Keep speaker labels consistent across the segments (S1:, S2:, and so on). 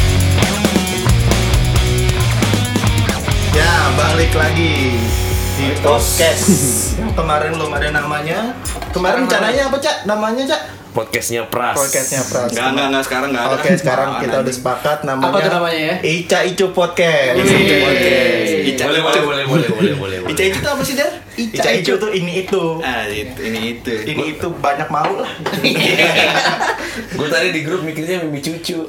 S1: di Ya, di podcast yang kemarin belum ada namanya. Kemarin rencananya apa cak? Namanya cak?
S2: Podcastnya Pras.
S1: Podcastnya Pras.
S3: Enggak, enggak, enggak sekarang enggak ada.
S1: Oke sekarang
S3: Apaan
S1: kita udah
S3: anjing?
S1: sepakat namanya. Iya,
S4: Apa tuh namanya ya?
S1: Ica Icu Podcast.
S2: Iya,
S3: Ica Icu Podcast.
S4: Yeay.
S3: Ica
S2: Boleh,
S3: Icu.
S2: boleh, boleh, boleh, boleh, boleh, boleh.
S3: Ica itu apa sih, Der?
S1: Ica Icu tuh ini itu.
S3: Ah, itu, ini itu.
S1: Ini itu banyak mau lah.
S2: Gue tadi di grup mikirnya Mimi Cucu.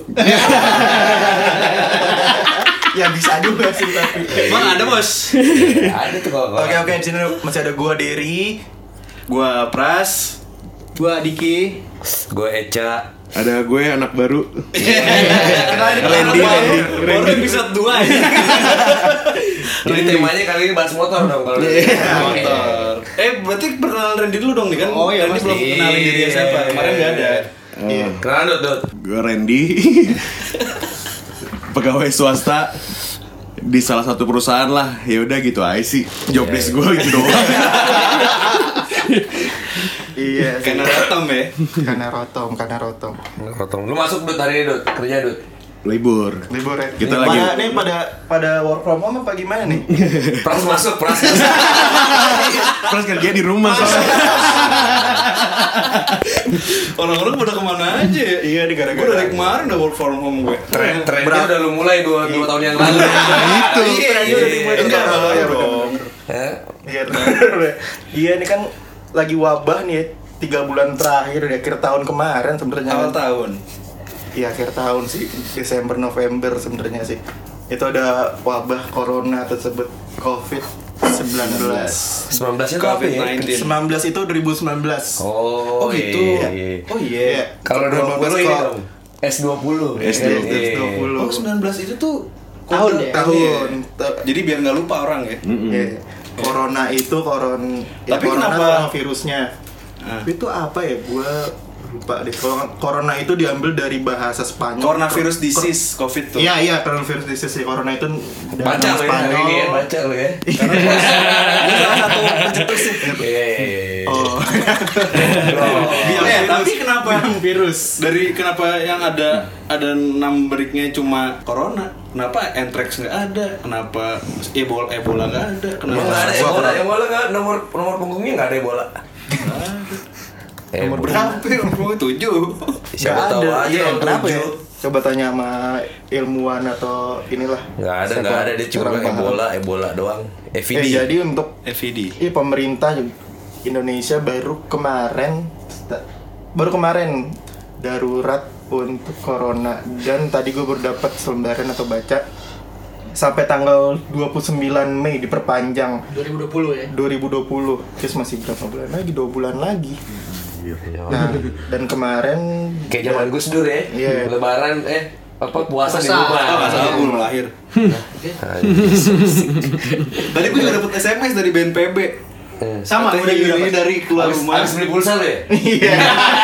S1: ya bisa juga sih tapi.
S3: Iya. Emang ada, Bos.
S2: Ya, ada tuh kalau
S1: Oke oke di sini masih ada gua Diri.
S3: Gua Pras.
S4: Gua Diki.
S2: Gue Eca.
S5: Ada gue anak baru.
S3: Randy, Randy. Baru episode 2 ya.
S2: Jadi temanya kali ini bahas motor dong kalau.
S3: Iya, Motor. Eh, berarti perkenalan Randy dulu dong nih kan?
S4: Oh, iya,
S3: Randy
S4: pasti.
S3: belum kenalin diri
S2: Iya,
S3: siapa. Kemarin enggak ada.
S5: Eh,
S2: Kenalan dot dot.
S5: gue Randy. Pegawai swasta di salah satu perusahaan lah. Ya udah gitu aja sih. Job desk gue gitu doang.
S1: Iya. sih.
S3: Karena datang ya.
S1: Karena rotom, karena rotom.
S2: Potong. Lu masuk dot hari ini dot kerja dot.
S5: Libur.
S1: Libur ya.
S5: Kita
S1: Nih,
S5: lagi-
S1: Pada, nih pada pada work from home apa gimana nih?
S2: Pras masuk Pras.
S5: Terus kerja di rumah. soalnya.
S3: Orang-orang pada kemana aja ya?
S1: Iya, di gara-gara.
S3: Gue dari kemarin udah work from home Iya. gue.
S2: Tren trennya udah lu mulai dua dua tahun yang lalu. Iya,
S3: Itu. Iya,
S2: Trennya udah dimulai dua
S3: enggak
S2: tahun
S3: kalau
S1: lalu.
S3: dong.
S2: Hah?
S1: Iya. bener. Iya ini kan lagi wabah nih ya, tiga bulan terakhir dari akhir tahun kemarin sebenarnya.
S3: Awal tahun.
S1: Iya akhir tahun sih Desember November sebenarnya sih. Itu ada wabah corona tersebut COVID 19.
S2: 19 nya tuh apa ya?
S3: COVID-19.
S1: 19 itu 2019.
S2: Oh,
S1: gitu.
S2: iya.
S1: Oh iya.
S2: Kalau 20 ini dong. S20.
S5: S20.
S2: Iya.
S3: Oh,
S1: 20.
S3: 19 itu tuh
S4: Tahun
S3: kode.
S4: ya?
S1: Tahun.
S3: Iya.
S1: Ta-
S3: Jadi biar nggak lupa orang ya.
S1: Iya. Corona itu koron ya,
S3: Tapi
S1: corona
S3: kenapa-
S1: tuh virusnya?
S3: Ah.
S1: Itu apa ya? Gua lupa deh. Kalau corona itu diambil dari bahasa Spanyol.
S3: Coronavirus
S1: Cor-
S3: disease COVID tuh.
S1: Iya iya coronavirus disease sih. corona itu Oh. dari
S2: Baca
S1: nama
S2: lu ya hari ini ya, baca lu ya.
S1: Iya.
S3: Ini salah satu pencetus sih.
S2: Iya, iya, iya.
S1: Oh.
S3: Eh, tapi kenapa
S1: virus?
S3: dari kenapa yang ada ada numberiknya cuma corona? Kenapa anthrax nggak ada? Kenapa ebola ebola nggak ada? Kenapa
S2: Emang nggak ada
S1: Gua
S2: Ebola,
S1: pernah-
S2: Ebola nggak nomor nomor punggungnya nggak ada Ebola.
S1: Nomor
S2: Ebola.
S1: berapa? ya?
S3: Oh, tujuh.
S2: Siapa
S1: Nggak
S2: tahu
S1: ada.
S2: aja
S1: Iya,
S2: yang
S1: kenapa ya?
S2: tujuh.
S1: Coba tanya sama ilmuwan atau inilah.
S2: Nggak ada,
S1: Siapa?
S2: nggak ada dia cuma
S1: Kurang paham.
S2: Ebola, Ebola doang.
S1: Eh,
S2: EVD.
S1: jadi untuk
S3: FVD.
S1: Iya pemerintah Indonesia baru kemarin baru kemarin darurat untuk corona dan tadi gue baru dapat selembaran atau baca sampai tanggal 29 Mei diperpanjang
S4: 2020 ya.
S1: 2020 terus masih berapa bulan lagi dua bulan lagi nah dan kemarin
S2: Kayak zaman Gus Dur ya.
S1: Iya.
S2: Lebaran eh apa puasa, di
S4: Puasa.
S2: rumah.
S3: Ah, nggak salah gue belum lahir. Tadi gue juga dapet SMS dari BNPB.
S4: Sama
S3: Katanya
S4: gua juga
S3: ini
S4: dapet.
S3: dari keluar
S2: Habis,
S3: rumah.
S2: habis beli pulsa lu ya?
S1: iya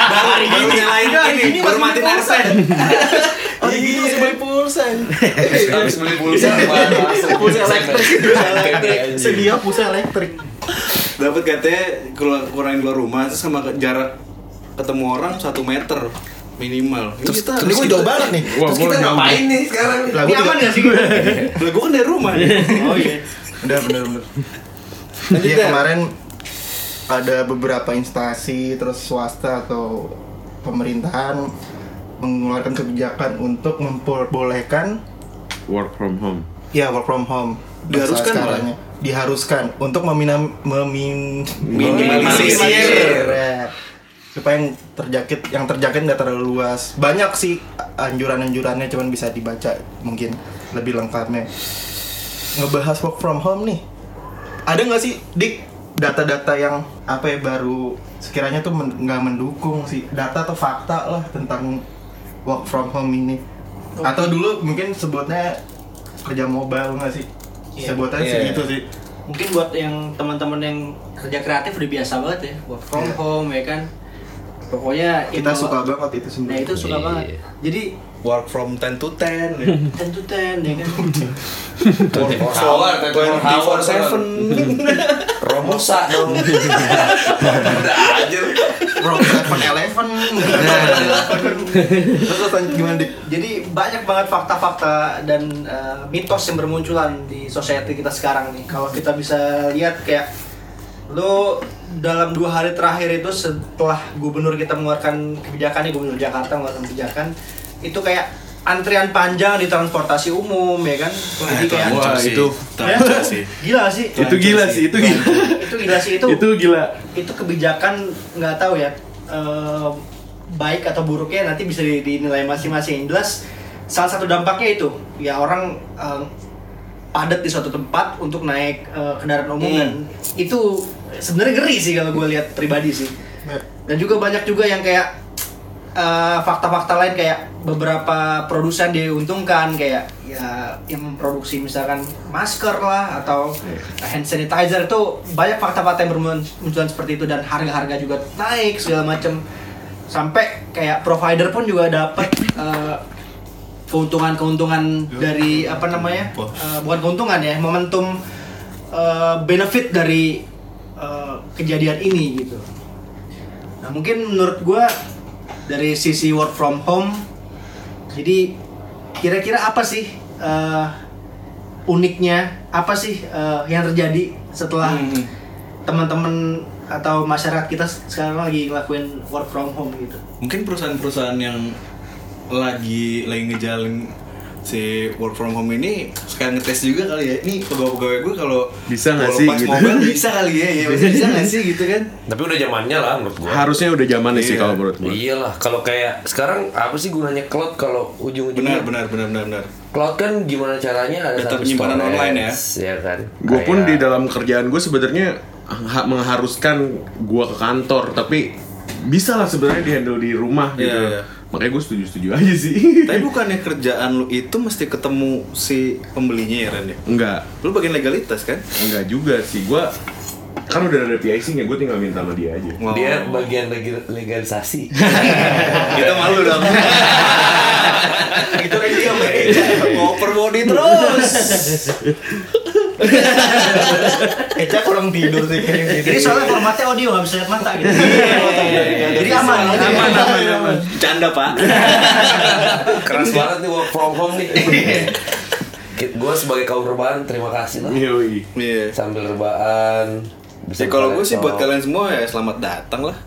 S3: Baru hari gini nyalain ini baru matiin AirPods.
S1: Iya, gini masih beli pulsa
S2: Habis beli pulsa baru masuk.
S4: Pulsa elektrik.
S1: sedia pulsa elektrik
S3: dapat katanya keluar kurangin keluar rumah terus sama ke- jarak ketemu orang satu meter minimal terus, kita
S1: ini gue jauh banget nih
S5: Wah,
S2: Terus
S5: gue
S2: kita ngapain nih sekarang?
S1: lagu aman
S4: gak sih gue?
S3: lah gue kan dari rumah oh iya
S1: Udah bener bener.
S3: Lanjut,
S1: Iya
S3: Dan.
S1: kemarin ada beberapa instansi terus swasta atau pemerintahan mengeluarkan kebijakan untuk memperbolehkan
S5: Work from home.
S1: ya work from home
S3: Diharuskan
S1: Bahasa sekarangnya. diharuskan untuk meminam memin
S3: Minimalisir.
S1: Ya. supaya yang terjakit yang terjakit nggak terlalu luas banyak sih anjuran-anjurannya cuman bisa dibaca mungkin lebih lengkapnya ngebahas work from home nih ada nggak sih dik data-data yang apa ya baru sekiranya tuh men- nggak mendukung sih data atau fakta lah tentang work from home ini atau dulu mungkin sebutnya kerja mobile nggak sih
S4: Iya.
S1: sebutannya
S3: Iya.
S1: segitu sih
S4: Mungkin buat yang teman-teman yang kerja kreatif udah biasa banget ya, work from
S1: Iya.
S4: home ya kan. Pokoknya
S1: kita
S4: info-
S1: suka banget itu
S4: Nah,
S1: sebenarnya
S4: itu suka
S2: Iya.
S4: banget. Jadi
S3: work from 10 to 10 ya.
S4: tentu ten ya kan.
S3: work
S2: Four hour, 24 hour,
S3: 7
S2: Romusa dong. Udah aja.
S1: Rock Eleven Eleven.
S4: Terus lo tanya gimana Dik? Jadi banyak banget fakta-fakta dan eh, mitos yang bermunculan di society kita sekarang nih. Kalau kita bisa lihat kayak lo dalam dua hari terakhir itu setelah gubernur kita mengeluarkan kebijakan nih gubernur Jakarta mengeluarkan kebijakan itu kayak antrian panjang di transportasi umum ya kan. Jadi kayak Ya,
S5: Wah,
S3: Wah, Nah, itu
S5: itu-
S3: lancar sih.
S4: gila sih.
S5: Itu gila sih, itu gila.
S4: itu gila sih itu.
S5: Itu gila.
S4: itu kebijakan nggak tahu ya eh, baik atau buruknya nanti bisa di- dinilai masing-masing Yang jelas salah satu dampaknya itu ya orang eh, padat di suatu tempat untuk naik eh, kendaraan umum dan itu sebenarnya ngeri sih kalau gue lihat pribadi sih dan juga banyak juga yang kayak eh, fakta-fakta lain kayak beberapa produsen diuntungkan kayak ya yang memproduksi misalkan masker lah atau hand sanitizer itu banyak fakta-fakta yang bermunculan seperti itu dan harga-harga juga naik segala macam sampai kayak provider pun juga dapat eh, keuntungan-keuntungan dari apa namanya eh, bukan keuntungan ya momentum eh, benefit dari eh, kejadian ini gitu Nah mungkin menurut gua dari sisi work from home, jadi kira-kira apa sih eh, uniknya, apa sih eh, yang terjadi setelah
S3: Hmm.
S4: teman-teman atau masyarakat kita sekarang lagi ngelakuin work from home gitu?
S3: Mungkin perusahaan-perusahaan yang lagi lagi ngejalin si work from home ini sekarang ngetes juga kali ya. Ini pegawai-pegawai gue kalau
S5: Bisa nggak
S3: kalau
S5: sih,
S3: Pas
S5: gitu?
S3: mobile bisa kali ya, ya bisa nggak sih gitu kan?
S2: Tapi udah zamannya lah menurut gua.
S5: Harusnya udah zamannya sih
S3: Iya.
S5: kalau menurut gue.
S2: Iyalah, kalau kayak sekarang apa sih gunanya cloud kalau
S3: Benar,
S2: ujung-ujungnya
S3: benar, benar, benar, benar.
S2: Cloud kan gimana caranya ada
S3: Data
S2: satu
S3: penyimpanan
S2: storage,
S3: online ya?
S2: ya kan.
S5: Gue pun
S2: Kayak-
S5: di dalam kerjaan gue sebenarnya ha- mengharuskan gue ke kantor, tapi bisa lah sebenarnya dihandle di rumah gitu.
S3: Iya, iya.
S5: Makanya gue setuju-setuju aja sih.
S3: Tapi bukannya kerjaan lu itu mesti ketemu si pembelinya ya Ren ya?
S5: Enggak,
S3: Lu bagian legalitas kan?
S5: enggak juga sih. Gue kan udah ada PIC-nya, gue tinggal minta sama dia aja.
S3: Wow.
S2: Dia bagian legi- legalisasi.
S3: kita malu dong.
S4: gitu kan
S3: Iya,
S4: dia
S3: Ngoper body terus.
S1: Eca kurang tidur sih kayaknya.
S4: Jadi soalnya formatnya audio nggak bisa lihat mata gitu. Jadi iya. aman,
S3: Iya, aman, aman, aman. Canda pak.
S2: Keras banget nih work from home nih.
S3: Iya.
S2: gue sebagai kaum rebahan terima kasih lah.
S5: Yoi.
S3: Iya.
S2: Sambil rebahan.
S3: Ya kalau gue sih buat kalian semua ya selamat datang lah.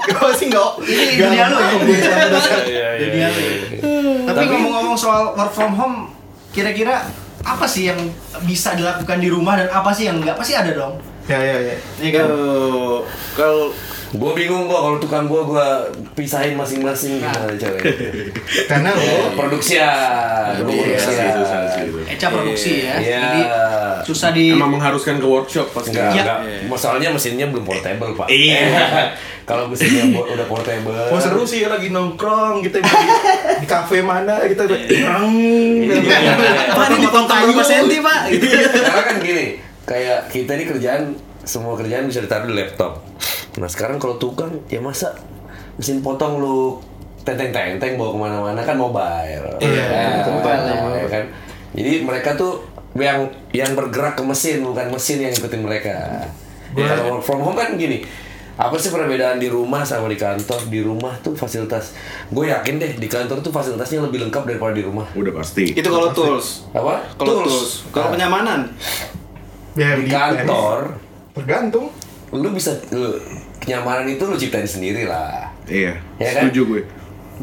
S1: Gue sih nggak.
S4: Ini dunia lu ya.
S2: Iya,
S3: ya?
S4: Tapi ngomong-ngomong soal work from home, kira-kira apa sih yang bisa dilakukan di rumah dan apa sih yang nggak pasti ada dong?
S1: Ya ya ya.
S4: Iya kan?
S3: Kalau kalau
S2: Gue bingung kok kalau tukang gue gue pisahin masing-masing gimana Oh, cewek.
S1: Karena lo
S2: Produksi ya.
S3: Iya,
S2: Gua produksi ya.
S5: gitu,
S4: Eca produksi ya,
S2: Iya.
S4: jadi susah di.
S5: Emang mengharuskan ke workshop pasti.
S2: Enggak,
S4: Iya.
S2: enggak. Masalahnya mesinnya belum portable, Pak. Iya. Kalau mesinnya bo- udah portable.
S1: Wah seru sih lagi nongkrong gitu di, di kafe mana kita Iya.
S3: Iya.
S1: gitu.
S4: Pak ini dipotong berapa senti pak? Gitu.
S2: Karena kan gini, kayak kita ini kerjaan semua kerjaan bisa ditaruh di laptop. Nah sekarang kalau tukang ya masa mesin potong lu tenteng-tenteng bawa kemana-mana kan mobile.
S1: Iya,
S2: Ya,
S4: mobile, ya.
S2: ya kan. Jadi mereka tuh yang yang bergerak ke mesin bukan mesin yang ikutin mereka. Ya,
S1: Iya.
S2: Kalau work from home kan gini, apa sih perbedaan di rumah sama di kantor? Di rumah tuh fasilitas, gue yakin deh di kantor tuh fasilitasnya lebih lengkap daripada di rumah.
S5: Udah pasti.
S3: itu kalau tools.
S2: Apa?
S3: Kalau tools. Iya. Kalau
S2: Nah,
S3: kenyamanan.
S1: Ya,
S2: di
S1: gitu.
S2: kantor
S1: Tergantung.
S2: lu bisa lu, kenyamanan itu lu ciptain sendiri lah
S5: Iya.
S2: Ya kan?
S5: Setuju gue.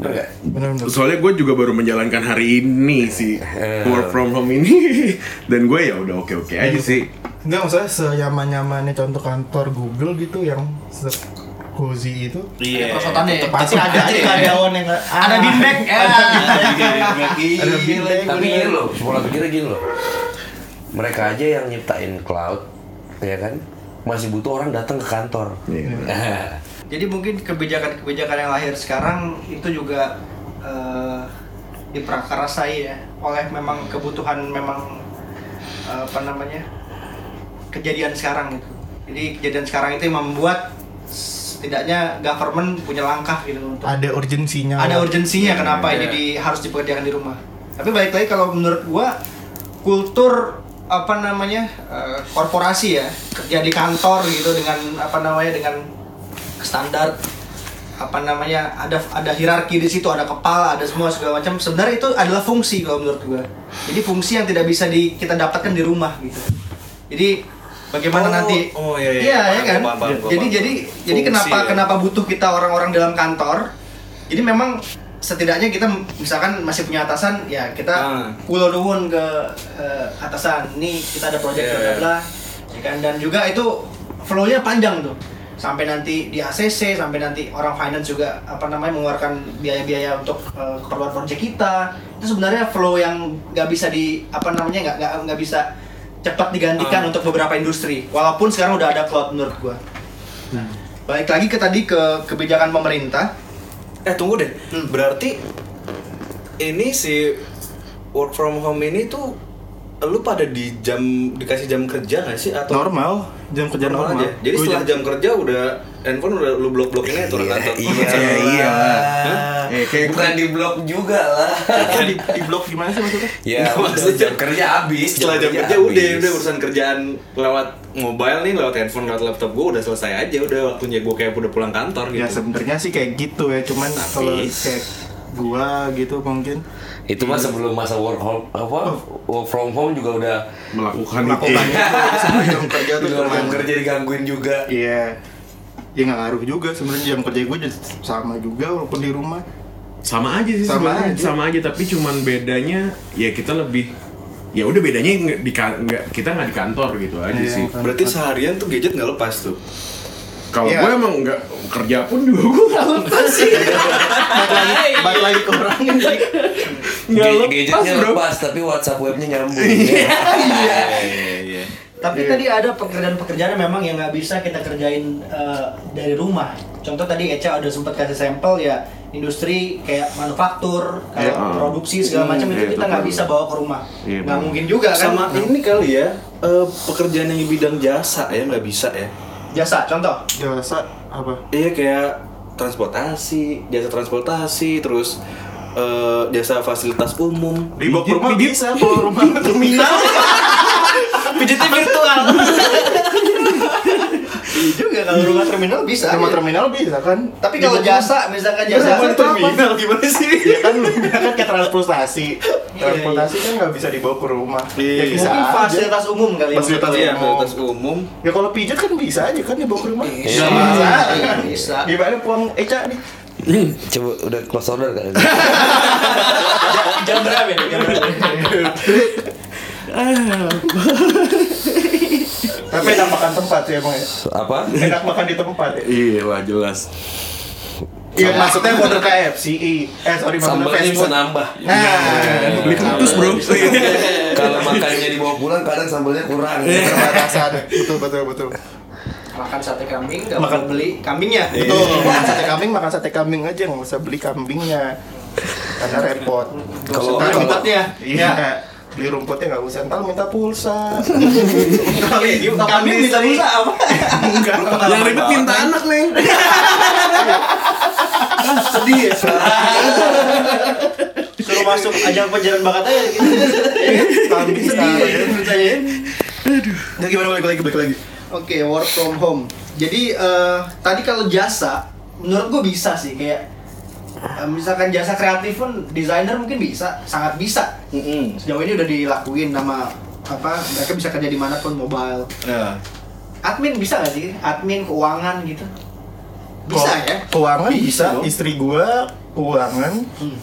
S2: Bener nggak?
S1: Benar-benar.
S5: Soalnya gue juga baru menjalankan hari ini sih
S2: Eh.
S5: work from home ini dan gue ya udah oke oke
S1: Eh, iya
S5: aja sih.
S1: Enggak maksudnya senyaman-nyamannya contoh kantor Google gitu yang se cozy itu.
S3: Iya.
S4: Prosotannya ya.
S1: Pasti ada aja karyawan yang nggak-
S4: Ada
S1: Ah.
S4: beanbag. ya.
S3: Iya,
S1: Ada beanbag.
S2: Iya, tapi
S1: bener.
S2: gini loh pola pikirnya gini loh mereka aja yang nyiptain cloud ya kan masih butuh orang datang ke kantor
S5: Iya.
S4: Jadi mungkin kebijakan-kebijakan yang lahir sekarang itu juga eh, diprakarasai ya oleh memang kebutuhan memang eh, apa namanya kejadian sekarang gitu. Jadi kejadian sekarang itu yang membuat setidaknya government punya langkah gitu untuk
S1: Ada urgensinya.
S4: ada urgensinya
S3: Iya,
S4: kenapa ini di, harus dipekerjakan di rumah tapi balik lagi kalau menurut gua kultur apa namanya eh, korporasi ya kerja di kantor gitu dengan apa namanya dengan standar apa namanya ada ada hierarki di situ ada kepala ada semua segala macam sebenarnya itu adalah fungsi kalau menurut gua jadi fungsi yang tidak bisa di, kita dapatkan di rumah gitu jadi bagaimana
S3: Oh,
S4: nanti
S3: oh, iya, iya.
S4: iya ya
S3: Paham,
S4: kan
S3: paham, paham, gua
S4: jadi
S3: paham.
S4: jadi jadi
S3: Fungsi,
S4: kenapa
S3: ya.
S4: kenapa butuh kita orang-orang dalam kantor jadi memang setidaknya kita misalkan masih punya atasan ya kita
S3: Ah.
S4: kulo nuwun ke eh, atasan nih kita ada project
S3: Iya,
S4: bla bla
S3: iya.
S4: bla ya kan dan juga itu flow-nya panjang tuh sampai nanti di ACC sampai nanti orang finance juga apa namanya mengeluarkan biaya-biaya untuk eh, keperluan project kita itu sebenarnya flow yang nggak bisa di apa namanya nggak nggak nggak bisa cepat digantikan untuk beberapa industri walaupun sekarang udah ada cloud menurut gua balik lagi ke tadi ke kebijakan pemerintah
S3: Eh tunggu deh,
S4: Hmm.
S3: berarti ini si work from home ini tuh lu pada di jam dikasih jam kerja nggak sih atau
S1: normal jam kerja normal,
S3: aja? Jadi
S1: Gua
S3: setelah jam kerja udah handphone udah lu blok-blokin aja Eh, turun kantor.
S2: iya iya
S5: Eh, kayak-
S2: bukan di blok juga lah
S1: Itu di, di blog gimana sih maksudnya
S2: ya udah jam kerja habis
S3: Iya, Setelah jam kerja
S2: habis.
S3: udah udah urusan kerjaan lewat mobile nih, lewat handphone, lewat laptop gua udah selesai aja, udah waktunya gua kayak udah pulang kantor
S1: ya
S3: gitu.
S1: sebenarnya sih kayak gitu ya cuman kalau kayak gua gitu mungkin
S2: itu mah sebelum masa work home apa
S3: Oh.
S2: work from home juga udah
S5: melakukan
S1: melakukan
S5: itu.
S1: itu setelah jam kerja
S2: di
S1: tuh
S2: luar jam
S1: cuman-
S2: kerja digangguin juga
S1: iya ya nggak ngaruh juga sebenarnya jam kerja gue sama juga walaupun di rumah
S5: sama aja sih
S1: Sama
S5: sebenarnya.
S1: aja.
S5: sama aja tapi cuman bedanya ya kita lebih ya udah bedanya nggak di ka- nggak kita nggak di kantor gitu aja
S1: Iya.
S5: sih
S3: Berarti seharian tuh gadget nggak lepas tuh.
S5: kalau
S1: Iya.
S5: gue emang nggak kerja pun juga gue nggak lepas sih
S1: balik lagi balik lagi ke orangnya sih.
S5: nggak
S2: Ga-
S5: lepas
S2: gadgetnya
S5: bro
S2: lepas tapi WhatsApp webnya nyambung ya. iya
S3: Iya, iya.
S4: Tapi tadi ada pekerjaan-pekerjaan yang memang yang nggak bisa kita kerjain eh, dari rumah. Contoh tadi Eca udah sempat kasih sampel ya industri kayak manufaktur, kayak
S5: Iya.
S4: produksi segala macam
S5: Iya,
S4: itu
S5: itu
S4: kita nggak
S5: kan.
S4: bisa bawa ke rumah.
S5: Iya,
S4: Nggak
S5: benar.
S4: mungkin juga kan?
S3: Sama ini kali ya, eh, pekerjaan yang di bidang jasa ya nggak bisa ya.
S4: Jasa, contoh.
S1: jasa apa
S3: Iya kayak transportasi, jasa transportasi, terus eh, jasa fasilitas umum.
S1: di bawah
S5: Pijit,
S1: rumah
S5: pijit.
S1: bisa kalau rumah terminal
S3: Pijitnya virtual.
S4: Iya juga kalau rumah terminal bisa. iya.
S1: rumah terminal bisa kan
S4: Tapi
S1: Di
S4: kalau
S1: bawah
S4: jasa, misalkan
S1: rumah.
S4: jasa,
S1: Rumah
S4: itu apa?
S1: terminal
S3: gimana sih?
S1: ya kan lu bilang kan ke transportasi transportasi kan nggak bisa dibawa ke rumah
S3: Iya.
S1: ya bisa
S4: mungkin
S1: aja
S4: fasilitas umum kali. ya.
S1: Fasilitas
S3: Iya,
S1: umum.
S3: fasilitas umum.
S1: ya kalau pijat kan bisa aja kan dibawa ke rumah
S4: Bisa, iya, bisa.
S1: gimana puang Eca nih
S2: coba udah close order kan
S4: Jam berapa ya? Jam berapa?
S1: tapi enak makan tempat sih emang ya
S2: apa
S1: enak makan di tempat ya
S5: iya lah jelas
S1: Iya maksudnya order KFC eh sorry maksudnya
S2: sambalnya
S1: fast
S2: bisa
S1: food
S2: nambah
S1: nah
S5: beli kardus bro
S2: kalau makannya dibawa pulang kadang sambalnya kurang
S1: keterbatasan betul betul betul
S4: Makan sate kambing, nggak makan beli kambingnya.
S1: betul makan sate kambing makan sate kambing aja nggak usah beli kambingnya karena repot
S2: Kalau-
S1: Ntar
S4: Kalau tempatnya,
S1: iya beli rumputnya nggak usah ntar minta pulsa
S4: Kambing Iya, bisa bisa apa?
S5: yang ribet minta anak neng
S4: Sedih ya. Suruh masuk ajang pencarian bakat aja gitu.
S1: kambing
S4: Sedih
S1: sekarang
S4: ya, menurut saya.
S1: ya gimana balik lagi balik lagi
S4: Oke, work from home. Jadi eh, tadi kalau jasa, menurut gue bisa sih kayak eh, misalkan jasa kreatif pun desainer mungkin bisa, sangat bisa. Sejauh ini udah dilakuin sama apa mereka bisa kerja di mana pun mobile.
S3: Nah,
S2: Ya.
S4: Admin bisa nggak sih? Admin keuangan gitu. Bisa
S1: Keuangan-
S4: ya?
S1: keuangan bisa,
S3: dong.
S1: istri gua keuangan
S4: Hmm.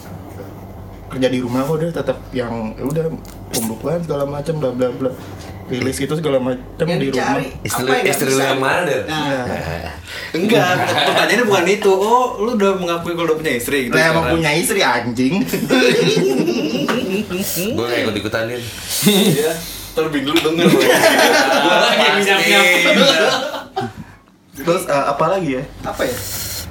S1: kerja di rumah kok udah tetap yang ya udah pembukuan segala macam bla bla bla rilis itu segala macam
S4: Yang
S1: di rumah Iya.
S4: dicari
S2: Istri-
S4: apa yang nggak
S2: istri lu
S4: bisa?
S2: yang mana, Del?
S4: Nah,
S3: enggak, pertanyaannya bukan itu. Oh, lu udah mengakui kalau udah punya istri gitu.
S1: Lah
S3: sekarang?
S1: Nah, emang punya istri anjing.
S2: gue gak ikut ikutan
S3: Iya. Terbing dulu denger.
S2: Gua lagi yang nyap-nyap.
S1: Terus eh, apa lagi ya?
S4: apa ya?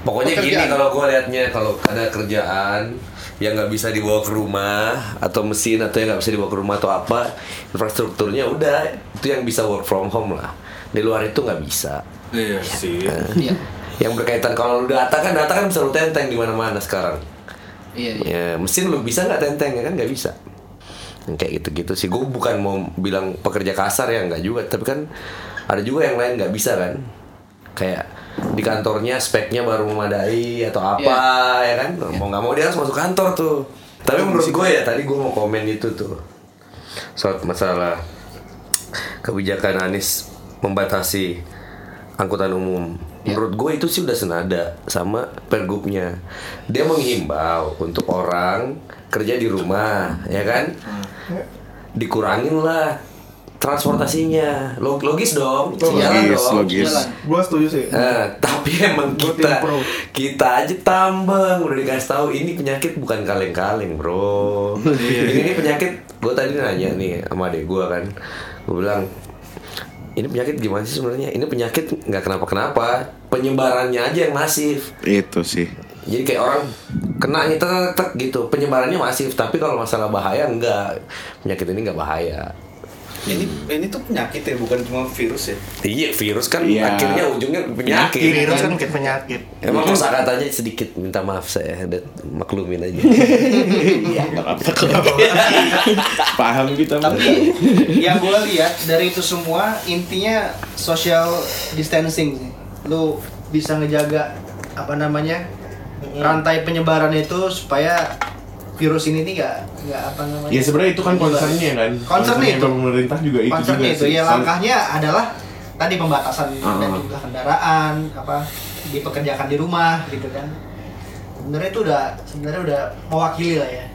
S2: Pokoknya gini
S4: Pekerjaan.
S2: kalau gue liatnya kalau ada kerjaan yang nggak bisa dibawa ke rumah atau mesin atau yang nggak bisa dibawa ke rumah atau apa infrastrukturnya udah itu yang bisa work from home lah di luar itu nggak bisa
S3: Iya sih.
S4: Iya.
S2: yang berkaitan kalau lu data kan data kan bisa lu tenteng di mana-mana sekarang
S4: Iya.
S2: ya mesin lu bisa nggak tenteng ya kan nggak bisa Yang kayak gitu-gitu sih gue bukan mau bilang pekerja kasar ya nggak juga tapi kan ada juga yang lain nggak bisa kan kayak di kantornya speknya baru memadai atau apa
S4: Iya.
S2: ya kan mau nggak mau dia harus masuk kantor tuh tapi menurut gue ya tadi gue mau komen itu tuh soal masalah kebijakan Anies membatasi angkutan umum menurut gue itu sih udah senada sama pergubnya dia menghimbau untuk orang kerja di rumah ya kan dikurangin lah transportasinya Log- logis dong jalan
S5: Logis,
S2: dong
S5: logis.
S4: Jalan.
S1: Gua setuju sih.
S2: Eh, tapi emang
S1: Gua
S2: kita
S1: tim pro.
S2: kita aja tambeng udah dikasih tahu ini penyakit bukan kaleng-kaleng bro ini, ini penyakit gue tadi nanya nih sama adek gue kan gue bilang ini penyakit gimana sih sebenarnya ini penyakit nggak kenapa-kenapa penyebarannya aja yang masif
S5: Itu sih.
S2: jadi kayak orang kena nih tek, tek, tek, gitu penyebarannya masif tapi kalau masalah bahaya enggak penyakit ini nggak bahaya
S3: Ini ini tuh penyakit ya, bukan cuma virus ya.
S2: iya virus kan
S5: Iya.
S2: akhirnya ujungnya
S1: Penyakit.
S2: penyakit
S1: Virus kan kayak penyakit.
S2: Emang kosa katanya sedikit minta maaf saya dan maklumin aja.
S5: Nggak apa-apa kok. Paham kita.
S4: Tapi yang gue lihat dari itu semua intinya social distancing sih. Lu bisa ngejaga apa namanya rantai penyebaran itu supaya virus ini nih nggak nggak apa namanya.
S5: Ya sebenarnya itu kan concernnya kan.
S4: Concernnya itu.
S5: pemerintah juga itu
S4: Concernnya
S5: juga
S4: itu
S1: iya,
S5: sih.
S4: ya langkahnya adalah tadi pembatasan
S5: Ah.
S4: dan jumlah kendaraan apa dipekerjakan di rumah gitu kan. Sebenarnya itu udah sebenarnya udah mewakili lah ya.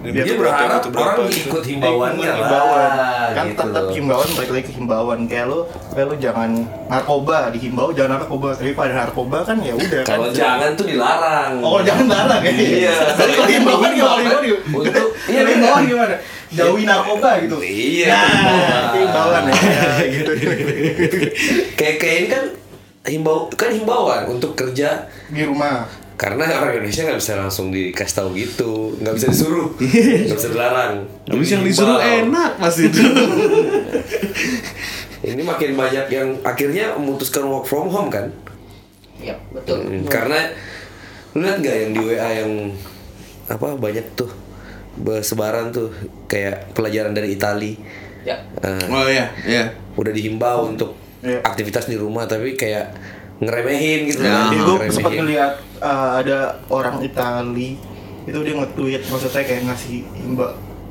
S2: Dia, berharap orang ikut himbauannya
S1: Himbauan.
S2: lah.
S1: kan
S2: ya. gitu
S1: tetap
S2: loh.
S1: himbauan balik lagi ke himbauan kayak lo kayak lo jangan narkoba dihimbau jangan narkoba tapi pada narkoba kan ya udah kan
S2: Kalau jangan tuh dilarang.
S1: oh kalau jangan larang ya
S2: Iya.
S1: tapi kalau himbauan gimana himbauan gimana?
S2: Untuk iya
S1: himbauan
S2: benar.
S1: gimana jauhi narkoba gitu
S2: Iya.
S1: nah itu himbauan ya gitu
S2: Kayak kayak ini kan himbau kan himbauan untuk kerja
S1: di rumah
S2: karena orang Indonesia nggak bisa langsung dikasih tahu gitu, nggak bisa disuruh, nggak bisa dilarang.
S5: Habis yang disuruh
S2: Dihimbau.
S5: enak mas itu.
S2: Ini makin banyak yang akhirnya memutuskan work from home kan?
S4: Iya, betul.
S2: Hmm, karena lu lihat nggak yang di WA yang apa banyak tuh bersebaran tuh kayak pelajaran dari Itali
S4: Ya.
S2: Eh,
S3: Oh iya, iya.
S2: udah dihimbau untuk
S1: Iya.
S2: aktivitas di rumah tapi kayak ngeremehin gitu
S5: Ya,
S2: kan,
S1: Jadi gue
S2: ngeremehin.
S1: Nah, sempat ngeliat uh, ada orang Itali itu dia nge-tweet maksudnya kayak ngasih imba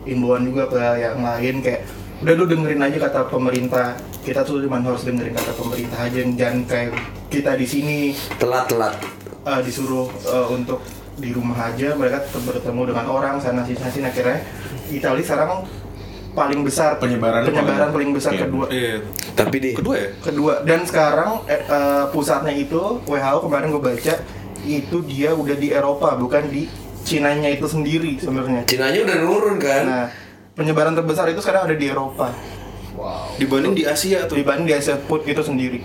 S1: imbauan juga ke yang lain kayak udah lu dengerin aja kata pemerintah kita tuh cuma harus dengerin kata pemerintah aja jangan kayak kita di sini
S2: telat-telat
S1: uh, disuruh uh, untuk di rumah aja mereka tetap bertemu dengan orang sana sini sana sini akhirnya Itali sekarang paling besar
S5: Penyebaran
S1: penyebaran
S5: paling-
S1: paling besar
S5: Iya.
S1: kedua
S3: Iya.
S2: tapi di
S3: Kedua ya?
S1: kedua dan sekarang eh, eh, pusatnya itu WHO kemarin gue baca itu dia udah di Eropa bukan di Cinanya itu sendiri sebenarnya
S2: Cinanya udah nurun kan
S1: nah penyebaran terbesar itu sekarang ada di Eropa
S3: Dibanding di Asia tuh.
S1: dibanding di Asia Put itu sendiri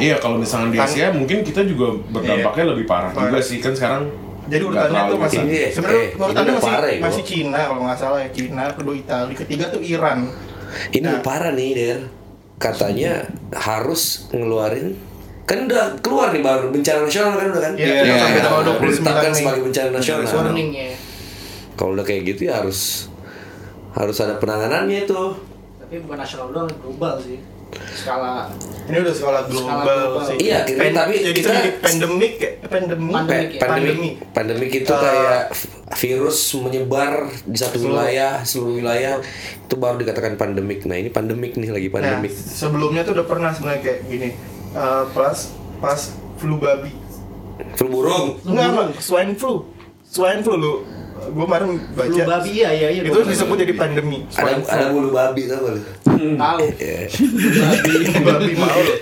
S5: Iya kalau misalnya di
S1: Kan-
S5: Asia mungkin kita juga berdampaknya lebih parah
S1: Parah.
S5: juga sih kan sekarang.
S1: jadi
S5: nggak gitu.
S1: urutannya
S5: terlalu
S1: tuh masih
S5: besar.
S2: Iya,
S1: sebenarnya
S2: eh,
S1: urutannya
S2: ini udah
S1: masih
S2: parah ya,
S1: masih
S2: gua.
S1: Cina kalau nggak salah ya Cina kedua Italia ketiga tuh Iran
S2: ini
S1: Nah.
S2: udah parah nih Der katanya harus ngeluarin kan udah keluar nih baru bencana nasional kan udah kan
S1: Iya,
S3: Iya,
S1: sampai tanggal
S2: udah
S1: 29
S2: ditetapkan
S1: Mei.
S2: sebagai bencana nasional
S4: Warning ya.
S2: kalau udah kayak gitu ya harus harus ada penanganannya itu
S4: Tapi bukan nasional doang, global sih. Skala
S1: ini udah skala global,
S4: global.
S1: sih
S2: Iya, akhirnya,
S1: Pen-
S2: tapi
S1: jadi
S2: kita-
S1: jadi pandemik ya pandemi
S4: Pandemik ya.
S2: pandemi pandemi itu
S1: Eh,
S2: kayak virus menyebar di satu
S1: Seluruh.
S2: wilayah seluruh wilayah itu baru dikatakan pandemik nah ini pandemik nih lagi pandemik
S1: Nah, sebelumnya tuh udah pernah sebenarnya kayak gini. Eh, pas pas flu babi.
S2: flu burung
S1: Enggak, Bang, swine flu. Swine flu lu. Gue kemarin baca.
S4: flu babi ya, ya, ya.
S1: Itu disebut jadi pandemi. Swine
S2: ada ada bulu babi tau gak lu?
S4: tahu.
S1: flu babi mau lu.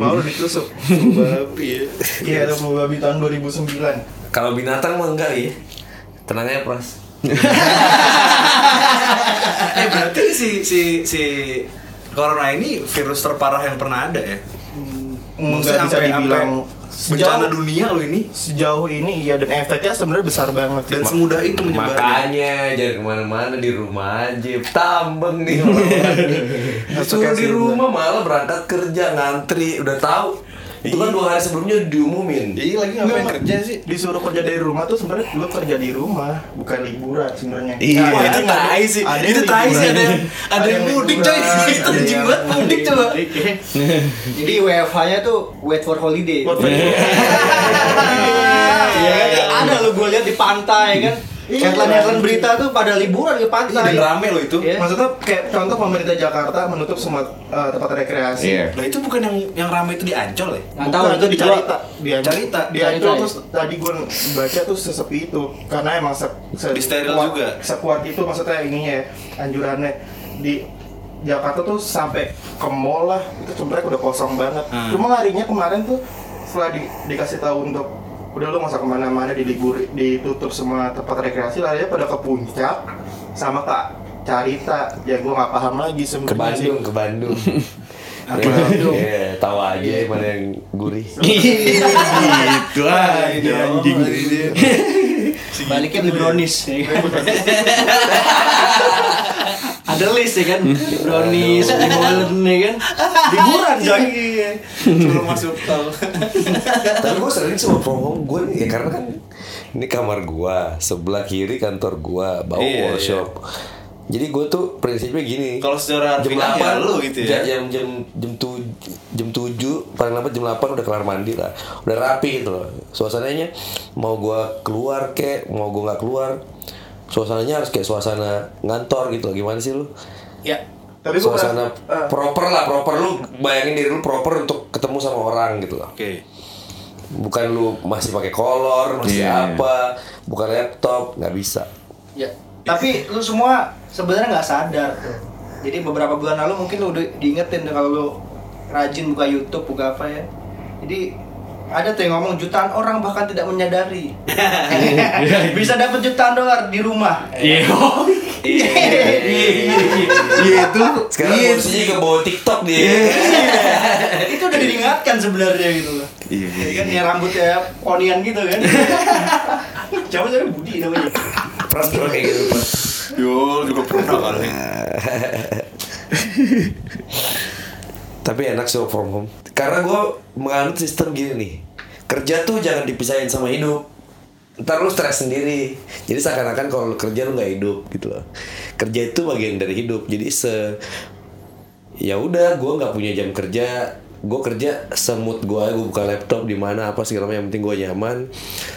S1: mau lu ditusuk. Flu babi ya. Iya, itu flu babi tahun 2009.
S2: kalau binatang mah enggak ya tenang aja pras
S3: Eh berarti si si si corona Nah, ini virus terparah yang pernah ada ya?
S1: Enggak bisa
S3: sampai-
S1: dibilang
S3: sampai bencana
S1: sejauh,
S3: dunia loh ini
S1: sejauh ini iya dan efeknya sebenarnya besar banget.
S3: dan semudah itu menyebarnya.
S2: makanya jangan kemana-mana di rumah aja tambeng nih orang-orang nih. disuruh di rumah malah berangkat kerja ngantri udah tahu Itu kan dua hari sebelumnya diumumin.
S3: Iya lagi
S1: Nggak,
S3: ngapain
S1: Mak.
S3: kerja sih?
S1: disuruh kerja dari rumah tuh sebenarnya lu kerja di rumah bukan liburan sebenarnya
S3: Iya,
S1: Nah,
S3: itu
S1: nggak ada-
S3: tai sih.
S1: ada
S3: Itu
S1: yang
S3: tai sih,
S1: liburan.
S3: ada yang- ada yang mudik, coy.
S1: liburan, Iya.
S3: Itu
S1: ada
S3: anjing
S1: yang-
S3: banget, mudik, coba.
S4: Jadi WFH-nya tuh wait for holiday.
S1: Buat pergi.
S4: Iya kan? Ada lo gue lihat di pantai kan.
S1: Iya.
S4: Headline-headline berita tuh pada liburan ke pantai.
S3: Dan rame loh itu.
S4: Iya.
S1: maksudnya kayak contoh pemerintah Jakarta menutup semua eh, tempat rekreasi
S5: Iya.
S3: Lah itu bukan yang yang rame itu di Ancol ya?
S4: Nggak tahu
S1: Bukan,
S4: itu di
S1: dicari tak dia
S3: Cari tak?
S1: dia
S4: Cari
S1: itu
S4: tak.
S1: terus tadi gue baca tuh sesepi itu karena emang se, se-
S3: Di steril
S1: kuat-
S3: juga.
S1: sekuat itu maksudnya ininya ya anjurannya di Jakarta tuh sampai ke mall lah itu sebenarnya udah kosong banget
S3: Hmm.
S1: cuma larinya kemarin tuh setelah di- dikasih tahu untuk udah lu masa kemana-mana dilibur ditutup semua tempat rekreasi larinya pada ke puncak sama ke Carita ya gue nggak paham lagi
S2: Ke
S1: sebenarnya sih.
S2: Bandung, ke Bandung. Iya, tahu aja mana yang gurih.
S5: gitu aja anjing.
S4: Baliknya beli brownies. ya kan? Ada list ya kan, brownies, beli molen ya kan, liburan coy.
S3: Sebelum masuk tol.
S2: Tapi gue sering sih work from home gue nih ya karena kan ini kamar gua, sebelah kiri kantor gua, bawah
S3: Iya,
S2: workshop. Jadi gue tuh prinsipnya gini.
S3: Kalau secara
S2: jam
S3: harfiah ya
S2: delapan
S3: lu gitu ya.
S2: Jam jam jam tujuh jam tujuh paling lambat jam delapan udah kelar mandi lah, udah rapi gitu loh. Suasananya mau gua keluar kek, mau gua nggak keluar, suasananya harus kayak suasana ngantor gitu loh. Gimana sih lu?
S4: Ya,
S1: tapi eh, gue
S2: suasana proper lah, proper lu bayangin diri lu proper untuk ketemu sama orang gitu loh
S3: Oke.
S2: bukan lu masih pakai kolor masih
S5: Iya,
S2: apa bukan laptop nggak bisa
S4: ya. Tapi lu semua sebenarnya nggak sadar tuh. Jadi beberapa bulan lalu mungkin lu udah diingetin tuh kalau lu rajin buka YouTube, buka apa ya. Jadi ada tuh yang ngomong jutaan orang bahkan tidak menyadari bisa dapat jutaan dolar di rumah.
S1: Iya.
S5: Iya itu.
S2: sekarang
S5: Iya.
S2: posisinya ke bawah TikTok dia
S4: itu udah diingatkan sebenarnya gitu loh.
S5: Iya, iya,
S4: Jadi kan ya rambutnya ponian gitu kan. Coba cari Budi namanya.
S2: pras dulu kayak gitu Pras.
S3: Yul juga pernah kali.
S2: Nah, tapi enak sih work from home karena gue menganut sistem gini nih kerja tuh jangan dipisahin sama hidup ntar lu stres sendiri jadi seakan-akan kalau lu kerja lu nggak hidup gitu loh kerja itu bagian dari hidup jadi se ya udah gue nggak punya jam kerja gue kerja semut gue gue buka laptop di mana apa segala macam yang penting gue nyaman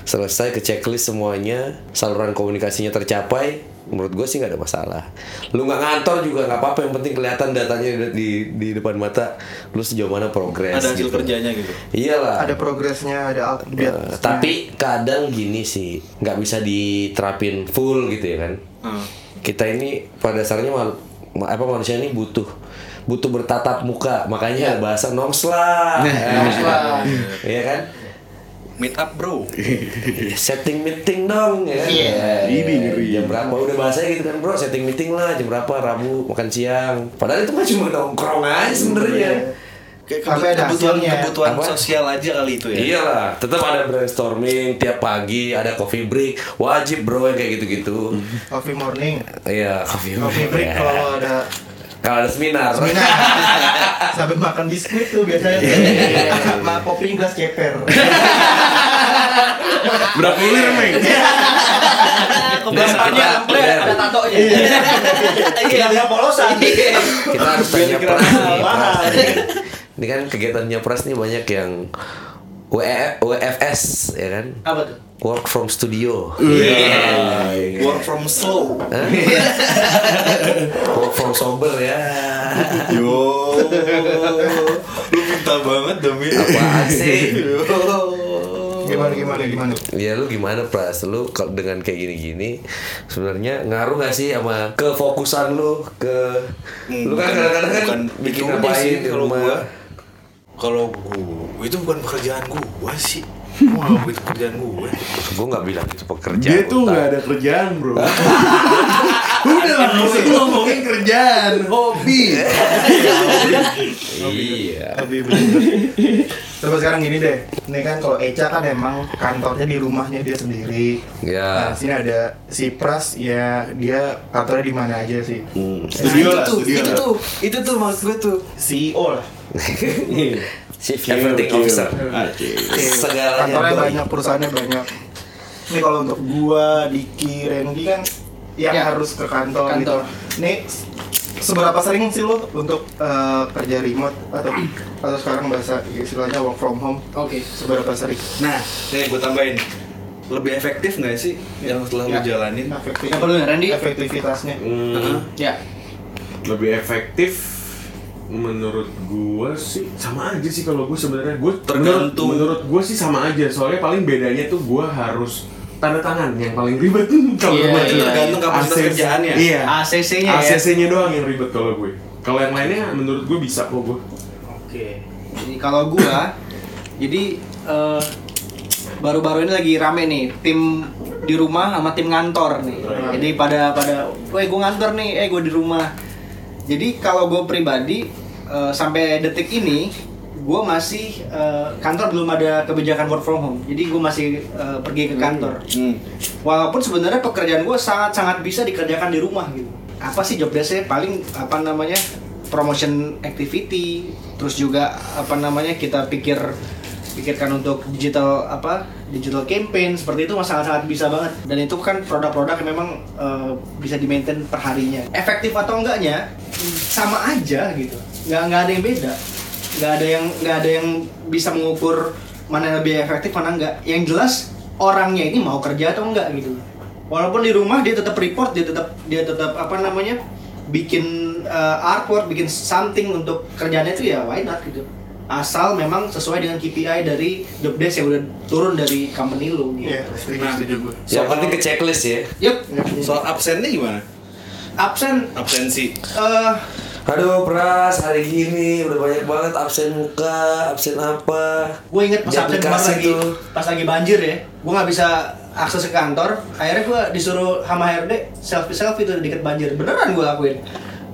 S2: selesai ke checklist semuanya saluran komunikasinya tercapai menurut gue sih nggak ada masalah lu nggak ngantor juga nggak apa-apa yang penting kelihatan datanya di, di, di depan mata lu sejauh mana progres
S3: Ada hasil
S2: gitu.
S3: kerjanya gitu.
S2: iyalah
S1: ada progresnya ada alt-
S2: Ya,
S1: biar-
S2: tapi kadang gini sih nggak bisa diterapin full gitu ya kan
S3: Hmm.
S2: kita ini pada dasarnya mal- ma- apa manusia ini butuh butuh bertatap muka makanya
S1: Iya.
S2: bahasa nongs lah
S1: Nah,
S2: nongs lah ya kan
S3: Meet up, Bro.
S2: setting meeting dong ya kan?
S1: Iya.
S2: Ya,
S5: Ini ngeri.
S2: jam berapa udah bahasanya gitu kan bro setting meeting lah jam berapa rabu makan siang padahal itu mah cuma nongkrong aja sebenarnya
S3: Kayak
S1: Tapi
S3: kebut-
S1: ada
S3: kebutuhan
S1: hasilnya.
S3: kebutuhan
S2: Apa? Iya.
S3: sosial aja kali itu ya.
S2: Iyalah, tetap ada brainstorming tiap pagi, ada coffee break, wajib bro yang kayak gitu-gitu.
S1: coffee morning
S2: Iya, coffee break.
S1: coffee break kalau ada
S2: Kalau ada seminar.
S1: seminar sambil makan biskuit tuh biasanya
S3: Iya.
S1: sama kopi gelas ceper
S5: Berapa ulir, Meng?
S4: Kebiasaannya
S2: Nah,
S4: template
S2: bener.
S4: ada tatonya. Iya, ada polosan.
S3: Iya.
S2: Kita harus tanya
S3: Biar kira-
S2: Pras nih.
S3: mahal.
S2: Pras nih. Ini kan kegiatannya Pras nih banyak yang E, WF, WFS ya kan?
S4: Apa tuh?
S2: Work from studio. Iya.
S3: Work from slow.
S2: Hah? Work from sober ya.
S3: Yo. Oh, Lu minta banget demi
S2: Apaan sih?
S3: Yo.
S1: gimana gimana gimana
S2: Ya lu gimana pras lu kalau dengan kayak gini-gini sebenarnya ngaruh gak sih sama kefokusan lu ke lu kan
S3: Bukan-
S2: kadang-kadang kan
S3: bukan
S2: bikin
S3: itu aja sih
S2: ngapain di
S3: kalau
S2: rumah
S3: gua. Kalau gua itu bukan pekerjaan gua sih. Wah, itu pekerjaan gua.
S2: gua nggak bilang itu pekerjaan
S5: Dia tuh
S2: utama.
S5: nggak ada kerjaan, bro. Udah lah, nggak usah ngomongin kerjaan, hobi.
S2: iya
S1: lebih terus sekarang gini deh ini kan kalau Eca kan emang kantornya di rumahnya dia sendiri nah,
S2: Ya.
S1: sini ada si Pras ya dia kantornya di mana aja sih
S5: Studio lah,
S4: Itu tuh,
S5: studio
S4: itu
S5: lah.
S1: E
S4: tuh, itu tuh maksud gue tuh.
S1: CEO lah
S2: Chief Everything Officer.
S5: Ah,
S3: Oke.
S2: Segalanya
S1: Iya, kantornya
S2: boy.
S1: banyak perusahaannya banyak ini kalau untuk gua Diki Randy kan yang
S4: Ya.
S1: harus ke kantor,
S4: Kantor.
S1: gitu nih seberapa sering sih lo untuk eh, kerja remote atau atau sekarang bahasa istilahnya work from home
S4: Oke.
S1: seberapa sering
S3: Nah, nih gue tambahin. Lebih efektif nggak sih yang setelah lu
S4: Ya.
S3: jalanin?
S1: Efektif-
S4: Yang perlu ya, Randy?
S1: efektivitasnya
S3: Heeh.
S4: Ya.
S5: lebih efektif menurut gua sih sama aja sih kalau gua sebenarnya gua
S3: Tergantung.
S5: menurut, menurut gua sih sama aja soalnya paling bedanya tuh gua harus tanda tangan yang paling ribet kalau
S4: Iya,
S5: gua
S4: iya,
S3: tergantung kapasitas
S5: ACC.
S3: kerjaannya.
S5: iya
S4: ACC-nya ya.
S5: ACC-nya doang yang ribet kalau gue kalau yang lainnya menurut gue bisa kok gue
S4: Oke. Jadi kalau gua jadi eh, baru-baru ini lagi rame nih tim di rumah sama tim ngantor nih. Jadi pada pada weh gua ngantor nih, eh gua di rumah. Jadi kalau gua pribadi eh, sampai detik ini gua masih eh, kantor belum ada kebijakan work from home. Jadi gua masih eh, pergi ke kantor.
S3: Hmm.
S4: Walaupun sebenarnya pekerjaan gue sangat-sangat bisa dikerjakan di rumah gitu. Apa sih job desk-nya? Paling apa namanya promotion activity, terus juga apa namanya kita pikir pikirkan untuk digital apa digital campaign seperti itu sangat sangat bisa banget dan itu kan produk-produk yang memang eh, bisa di maintain perharinya efektif atau enggaknya sama aja gitu nggak nggak ada yang beda nggak ada yang nggak ada yang bisa mengukur mana yang lebih efektif mana enggak yang jelas orangnya ini mau kerja atau enggak gitu walaupun di rumah dia tetap report dia tetap dia tetap apa namanya bikin uh, artwork bikin something untuk kerjaannya itu ya why not gitu asal memang sesuai dengan KPI dari job desk yang udah turun dari company lu gitu.
S1: Iya, setuju,
S3: Nah,
S1: setuju gue.
S2: Yang penting ke checklist ya.
S4: Yup,
S3: Soal absennya gimana?
S4: absen
S3: Absensi.
S4: eh
S2: Aduh, Pras, hari gini udah banyak banget absen muka, absen apa.
S4: gue inget pas
S2: Di
S4: absen kemarin
S2: aplikasi
S4: lagi
S2: tuh.
S4: pas lagi banjir ya gue nggak bisa akses ke kantor akhirnya gue disuruh sama HRD selfie selfie tuh deket banjir beneran gue lakuin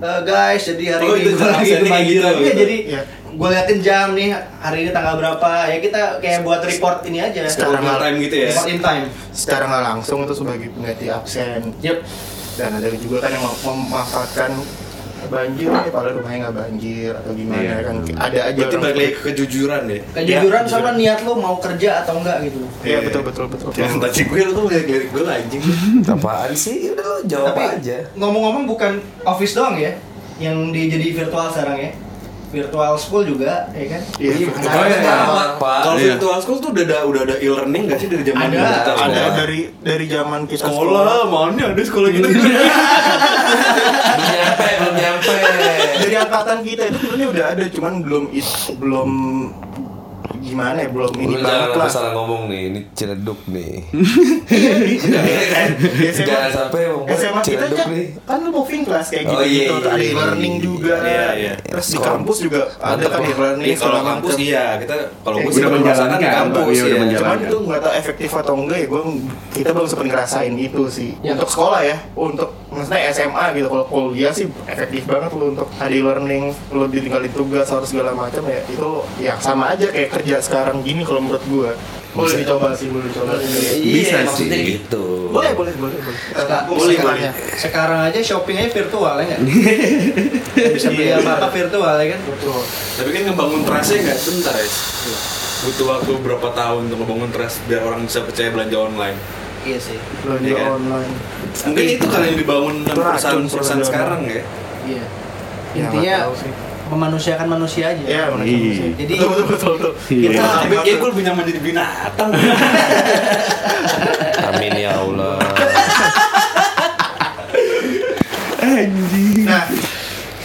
S4: "Eh, guys jadi hari
S3: Oh, itu
S4: ini gue lagi
S3: absennya
S4: kebanjiran
S3: gitu,
S4: Iya,
S3: gitu.
S4: jadi
S1: Iya.
S4: gue liatin jam nih hari ini tanggal berapa ya kita kayak buat report ini aja
S1: Secara
S3: Real time gitu ya.
S4: report in time
S1: secara nggak langsung itu sebagai pengganti absen
S4: yep
S1: dan ada juga kan yang mem- memanfaatkan banjir nih padahal rumahnya nggak banjir atau gimana
S5: Iya.
S1: kan ada aja
S3: Berarti
S1: orang-
S3: balik lagi ke kejujuran ya.
S4: kejujuran
S1: Iya,
S4: sama niat lo mau kerja atau enggak gitu
S1: Iya, betul, betul, betul.
S3: Ya. Yang tadi gue lu tuh ngelirik-ngelirik gue lah anjing.
S2: Apaan sih? Udah lo jawab
S4: Tapi
S2: aja.
S4: ngomong-ngomong bukan office doang ya yang di- jadi virtual sekarang ya virtual school juga ya kan
S1: Iya,
S2: Iya,
S1: betul.
S2: betul.
S1: Iya.
S2: Tamat, Pak.
S3: Kalau
S5: Iya.
S3: virtual school tuh udah ada udah ada e-learning nggak sih dari zaman
S4: Ada,
S3: dulu?
S1: ada dari dari zaman kita
S3: Sekolah, mana ada sekolah gitu.
S2: Belum nyampe, belum nyampe.
S1: dari angkatan kita itu sebenarnya udah ada cuman belum it- belum gimana ya belum ini
S2: Lu
S1: banget
S2: jangan
S1: lah Iya.
S2: salah ngomong nih, ini ciledug nih.
S1: Eh, SMA
S2: Jangan sampai membuat
S1: SMA kita
S2: Iya. ciledug
S1: kan
S2: nih.
S1: kan lu moving class kayak
S2: Oh,
S1: gitu
S2: iya,
S1: gitu
S2: iya,
S1: ada
S2: iya,
S1: learning
S2: iya,
S1: juga
S3: iya, iya.
S1: terus di
S2: Sekolah.
S1: kampus juga ada
S2: Mantap,
S1: kan
S2: Pak.
S1: learning
S3: Iya, kalau
S1: segala
S3: kampus
S1: macam.
S3: iya, kita kalau
S1: Eh,
S3: gue
S1: udah
S3: sih udah
S5: menjalankan,
S3: di kampus
S5: Pak. Iya, udah
S3: ya.
S5: menjalankan.
S1: Cuman itu nggak tau efektif atau enggak ya, gue kita belum sempet ngerasain itu sih.
S4: Ya.
S1: Untuk sekolah ya, untuk maksudnya SMA gitu. Kalau kuliah sih efektif banget lu untuk hari learning, lu ditinggalin tugas harus segala macam ya. Itu ya sama aja kayak kerja sekarang gini kalau menurut gue. Boleh dicoba sih, boleh dicoba. sih.
S5: Bisa
S2: Iya, maksudnya
S5: sih.
S2: gitu.
S1: Boleh, boleh, boleh, boleh.
S4: Sekarang,
S3: Boleh,
S4: sekarang, ya.
S3: boleh.
S4: sekarang aja shoppingnya virtual ya nggak? bisa beli
S1: Iya.
S4: apa apa virtual ya kan?
S1: Betul.
S3: Tapi kan ngebangun trustnya nggak sebentar ya. Butuh waktu berapa tahun untuk ngebangun trust biar orang bisa percaya belanja online.
S4: Iya sih.
S1: Belanja
S3: Iya kan?
S1: online.
S3: Mungkin itu kali yang dibangun
S1: Itu
S3: dengan
S1: racun
S3: perusahaan-perusahaan
S1: sebenarnya.
S3: sekarang ya.
S4: Iya.
S1: Ya,
S4: Intinya
S1: nggak tahu sih.
S4: memanusiakan manusia aja.
S1: Iya, benar.
S5: Iya.
S1: Jadi
S4: Jadi
S1: betul, betul, betul, betul.
S5: Iya.
S3: Nah, tapi kayak gue lebih nyaman jadi binatang.
S2: Amin ya Allah.
S1: Nah,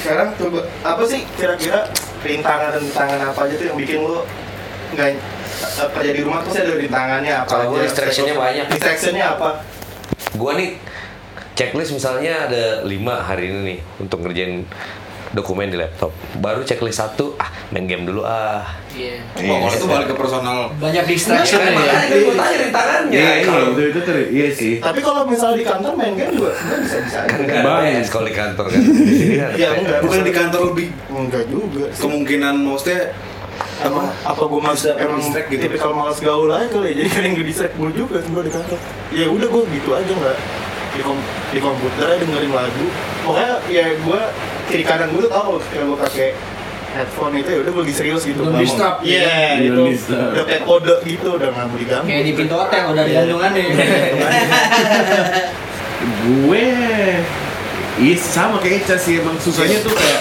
S1: sekarang coba apa sih kira-kira rintangan rintangan apa aja tuh yang bikin lu nggak eh, kerja di rumah pasti ada rintangannya apa?
S2: Kalau gua
S1: aja?
S2: distraction-nya banyak.
S1: Distraction-nya apa?
S2: Gua nih checklist misalnya ada lima hari ini nih untuk ngerjain dokumen di laptop. Baru checklist satu, ah main game dulu ah.
S4: iya.
S3: Wah, kalau itu balik ke personal.
S4: banyak
S2: Iya,
S4: distraction
S2: makanya
S4: ya.
S2: gua tanya rintangannya.
S5: iya
S2: Kan Kalau
S5: kalau itu itu ter- iya sih
S1: Tapi kalau misalnya di kantor main game juga nggak bisa-bisa aja.
S2: kan nggak ada
S5: Bang.
S2: PS kalau di kantor kan. Di sini kan ada
S1: Iya,
S2: PS.
S1: enggak.
S3: Bukan di kantor lebih
S1: Enggak juga. sih.
S3: kemungkinan maksudnya
S1: Emang apa gua mas
S3: Bisa
S1: emang
S3: distract gitu.
S1: tipikal malas gaul aja kali ya. Jadi kan yang distract gua juga gua di kantor. Ya udah gua gitu aja nggak di, kom di komputer aja dengerin lagu. Pokoknya ya gua kiri kanan gua tuh tahu kalau gua pakai headphone itu ya udah beli serius gitu.
S4: Belum
S1: Ngomong.
S4: di-strap.
S1: Iya,
S5: Belum
S1: itu
S5: di-strap.
S1: udah kayak kode gitu udah nggak mau diganggu.
S4: Kayak di pintu hotel udah ada gantungan nih.
S5: gue iya sama kayak Ica sih emang susahnya tuh kayak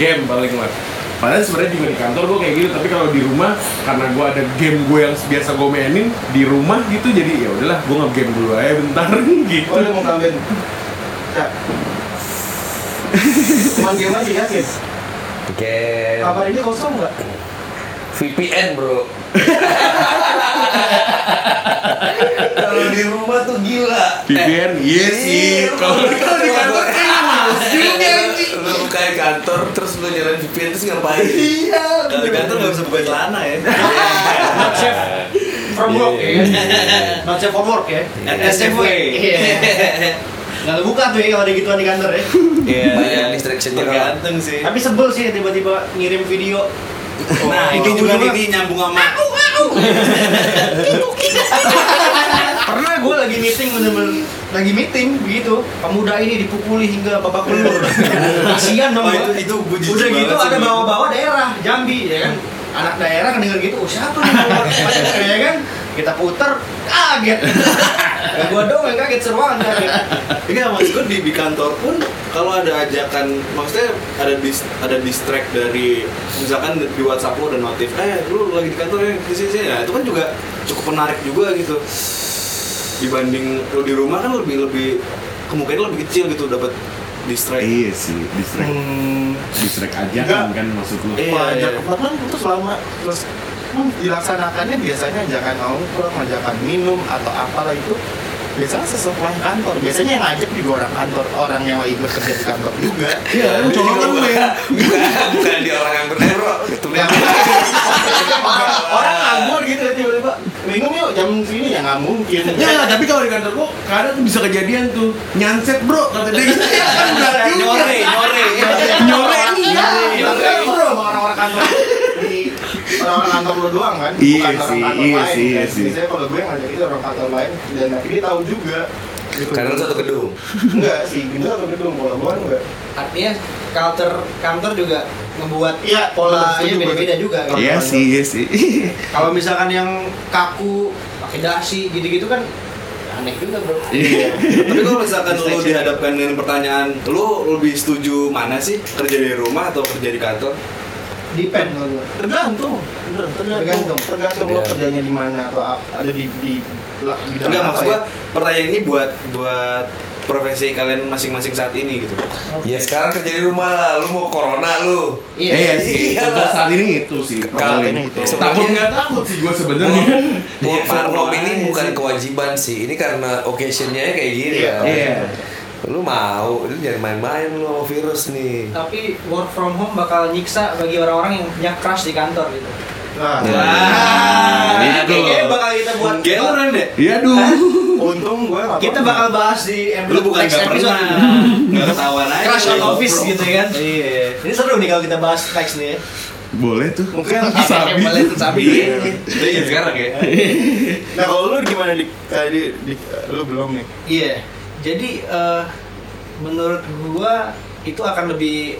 S5: game paling lah padahal sebenarnya juga di kantor gue kayak gitu tapi kalau di rumah karena gue ada game gue yang biasa gue mainin di rumah gitu jadi ya udahlah gue nge game dulu aja bentar gitu
S1: Oh, lu mau kawin? Cak. Cuman game aja ya, guys.
S2: Oke.
S4: Eh,
S1: Kamar ini kosong nggak?
S2: VPN bro. Kalau di rumah tuh gila.
S5: VPN iya sih kalau
S2: kalau di kantor kan
S3: Iya. gitu.
S2: Lu bukain kantor terus lu nyalain VPN terus ngapain?
S1: Iya.
S3: Kalau di kantor nggak bisa buka celana ya.
S4: Not safe from work ya kan? Not safe for work ya.
S3: Iya.
S4: SFW. Iya. Nggak dibuka tuh ya kalau ada gituan di kantor ya.
S3: Iya.
S2: Banyak distraction-nya, Kak.
S3: Tergantung sih.
S4: Tapi sebel sih tiba-tiba ngirim video. Oh,
S3: Nah, ini juga nih, ini nyambung sama
S4: Pernah gue lagi meeting bener-bener lagi meeting begitu pemuda ini dipukuli hingga babak belur kasihan dong
S3: Oh,
S4: gua.
S3: itu itu buji
S4: udah
S3: banget
S4: gitu
S3: sih.
S4: ada bawa-bawa daerah Jambi ya kan anak daerah kan denger gitu oh siapa nih bawa daerah?" ya kan kita putar kaget ya, gua dong yang kaget seruan kaget
S3: Iya maksud gue di, di kantor pun kalau ada ajakan maksudnya ada dis, ada distract dari misalkan di WhatsApp lo dan notif eh lu lagi di kantor ya di sini sini nah, itu kan juga cukup menarik juga gitu dibanding lu di rumah kan lebih lebih kemungkinan lebih kecil gitu dapat distract
S5: iya sih distract
S1: Hmm,
S5: distract aja kan kan maksud lu
S3: Iya,
S1: pajak
S3: iya.
S1: kemarin itu selama terus hmm, dilaksanakannya biasanya jangan nongkrong, jangan minum atau apalah itu biasanya sesuai kantor. Biasanya yang ngajak juga orang kantor, orang yang lagi bekerja di kantor juga.
S5: iya lu colongan lu ya
S2: Bukan di orang yang bener bro. Ketulian.
S1: orang orang nganggur gitu tiba-tiba minum yuk jam sini ya nggak mungkin.
S5: Ya, tapi kalau di kantor gua kadang tuh bisa kejadian tuh nyanset bro kata dia gitu ya kan berarti
S3: nyore nyore
S5: nyore
S1: Iya, iya, bro, orang-orang kantor di orang-orang kantor lo doang kan,
S5: Iya
S1: bukan orang
S5: sih,
S1: kantor
S5: iya
S1: lain.
S5: sih, iya
S1: kan.
S5: sih.
S1: Biasanya kalau gue ngajak itu orang kantor lain dan akhirnya dia tahu juga. Gitu.
S2: Karena lu satu gedung.
S1: enggak sih, gendut atau gedung kalau gue enggak.
S5: Eh,
S4: artinya culture kantor juga membuat
S1: Iya,
S4: pola
S1: setuju,
S4: beda-beda juga gitu.
S5: Iya sih, iya sih.
S4: kalau misalkan yang kaku pakai dasi gitu-gitu kan aneh juga bro
S5: Iya.
S3: tapi kalau misalkan lu dihadapkan dengan pertanyaan lu lebih setuju mana sih kerja di rumah atau kerja di kantor
S4: depend kalau gua.
S1: Tergantung, tergantung,
S4: Tergantung.
S1: tergantung lo
S2: Iya.
S1: kerjanya di mana atau ap- ada di di la- bidang
S3: enggak maksud
S1: apa ya?
S3: gua pertanyaan ini buat buat profesi kalian masing-masing saat ini gitu
S2: Ya sekarang kerja di rumah lah. Lu mau corona lu.
S5: Iya, iya sih.
S2: Iya
S5: Untuk
S2: lah.
S5: saat ini itu sih.
S2: Kalau Oh,
S5: paling.
S1: ini itu.
S5: Takut nggak takut sih gue sebenarnya.
S2: Work
S3: Iya,
S2: from home
S3: corona
S2: ini
S3: aja
S2: bukan
S3: sih.
S2: kewajiban sih. Ini karena occasionnya kayak gini
S1: Iya.
S2: ya.
S5: Iya.
S2: Lu mau, lu jangan main-main lu sama virus nih.
S4: tapi work from home bakal nyiksa bagi orang-orang yang punya crush di kantor gitu
S1: Nah,
S2: Ya.
S4: Wah,
S5: Gitu.
S4: kayaknya bakal kita buat
S3: Kayak lu Ren, deh
S5: Iya duh.
S1: untung gue nggak
S4: kita
S1: pernah.
S4: bakal bahas di
S3: lu bukan
S4: next
S3: nggak pernah nggak ketahuan aja
S4: crush on office gitu ya kan
S3: iya
S4: ini seru nih kalau kita bahas next nih ya
S5: Boleh tuh.
S1: mungkin
S5: Sabi.
S4: sabi
S3: jadi ya sekarang ya
S1: nah kalau lu gimana di tadi di, lu belum nih
S4: iya jadi eh, menurut gua itu akan lebih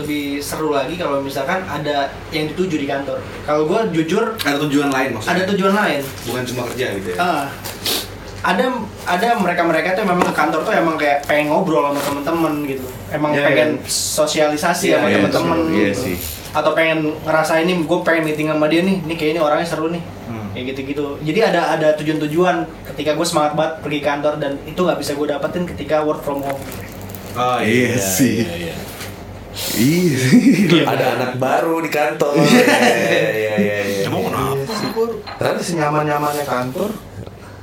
S4: lebih seru lagi kalau misalkan ada yang dituju di kantor kalau gua jujur
S3: ada tujuan lain
S4: ada
S3: maksudnya
S4: tujuan lain
S3: bukan cuma kerja gitu ya
S4: Ah. ada ada mereka-mereka tuh memang ke kantor tuh emang kayak pengen ngobrol sama temen-temen gitu emang
S1: Iya,
S4: pengen
S1: iya.
S4: sosialisasi
S3: Iya,
S4: sama
S5: iya,
S4: temen-temen
S5: sure. Iya
S4: gitu.
S5: sih.
S4: atau pengen ngerasain nih gue pengen meeting sama dia nih ini kayaknya orangnya seru nih
S3: Hmm.
S4: kayak gitu-gitu jadi ada ada tujuan-tujuan ketika gue semangat banget pergi kantor dan itu nggak bisa gue dapetin ketika work from home
S3: oh
S5: Iya sih.
S3: iya, iya.
S5: Iya.
S2: Ada anak baru di kantor. Iya, iya, iya. iya.
S3: emang kenapa
S2: Hah?
S1: senyaman nyamannya kantor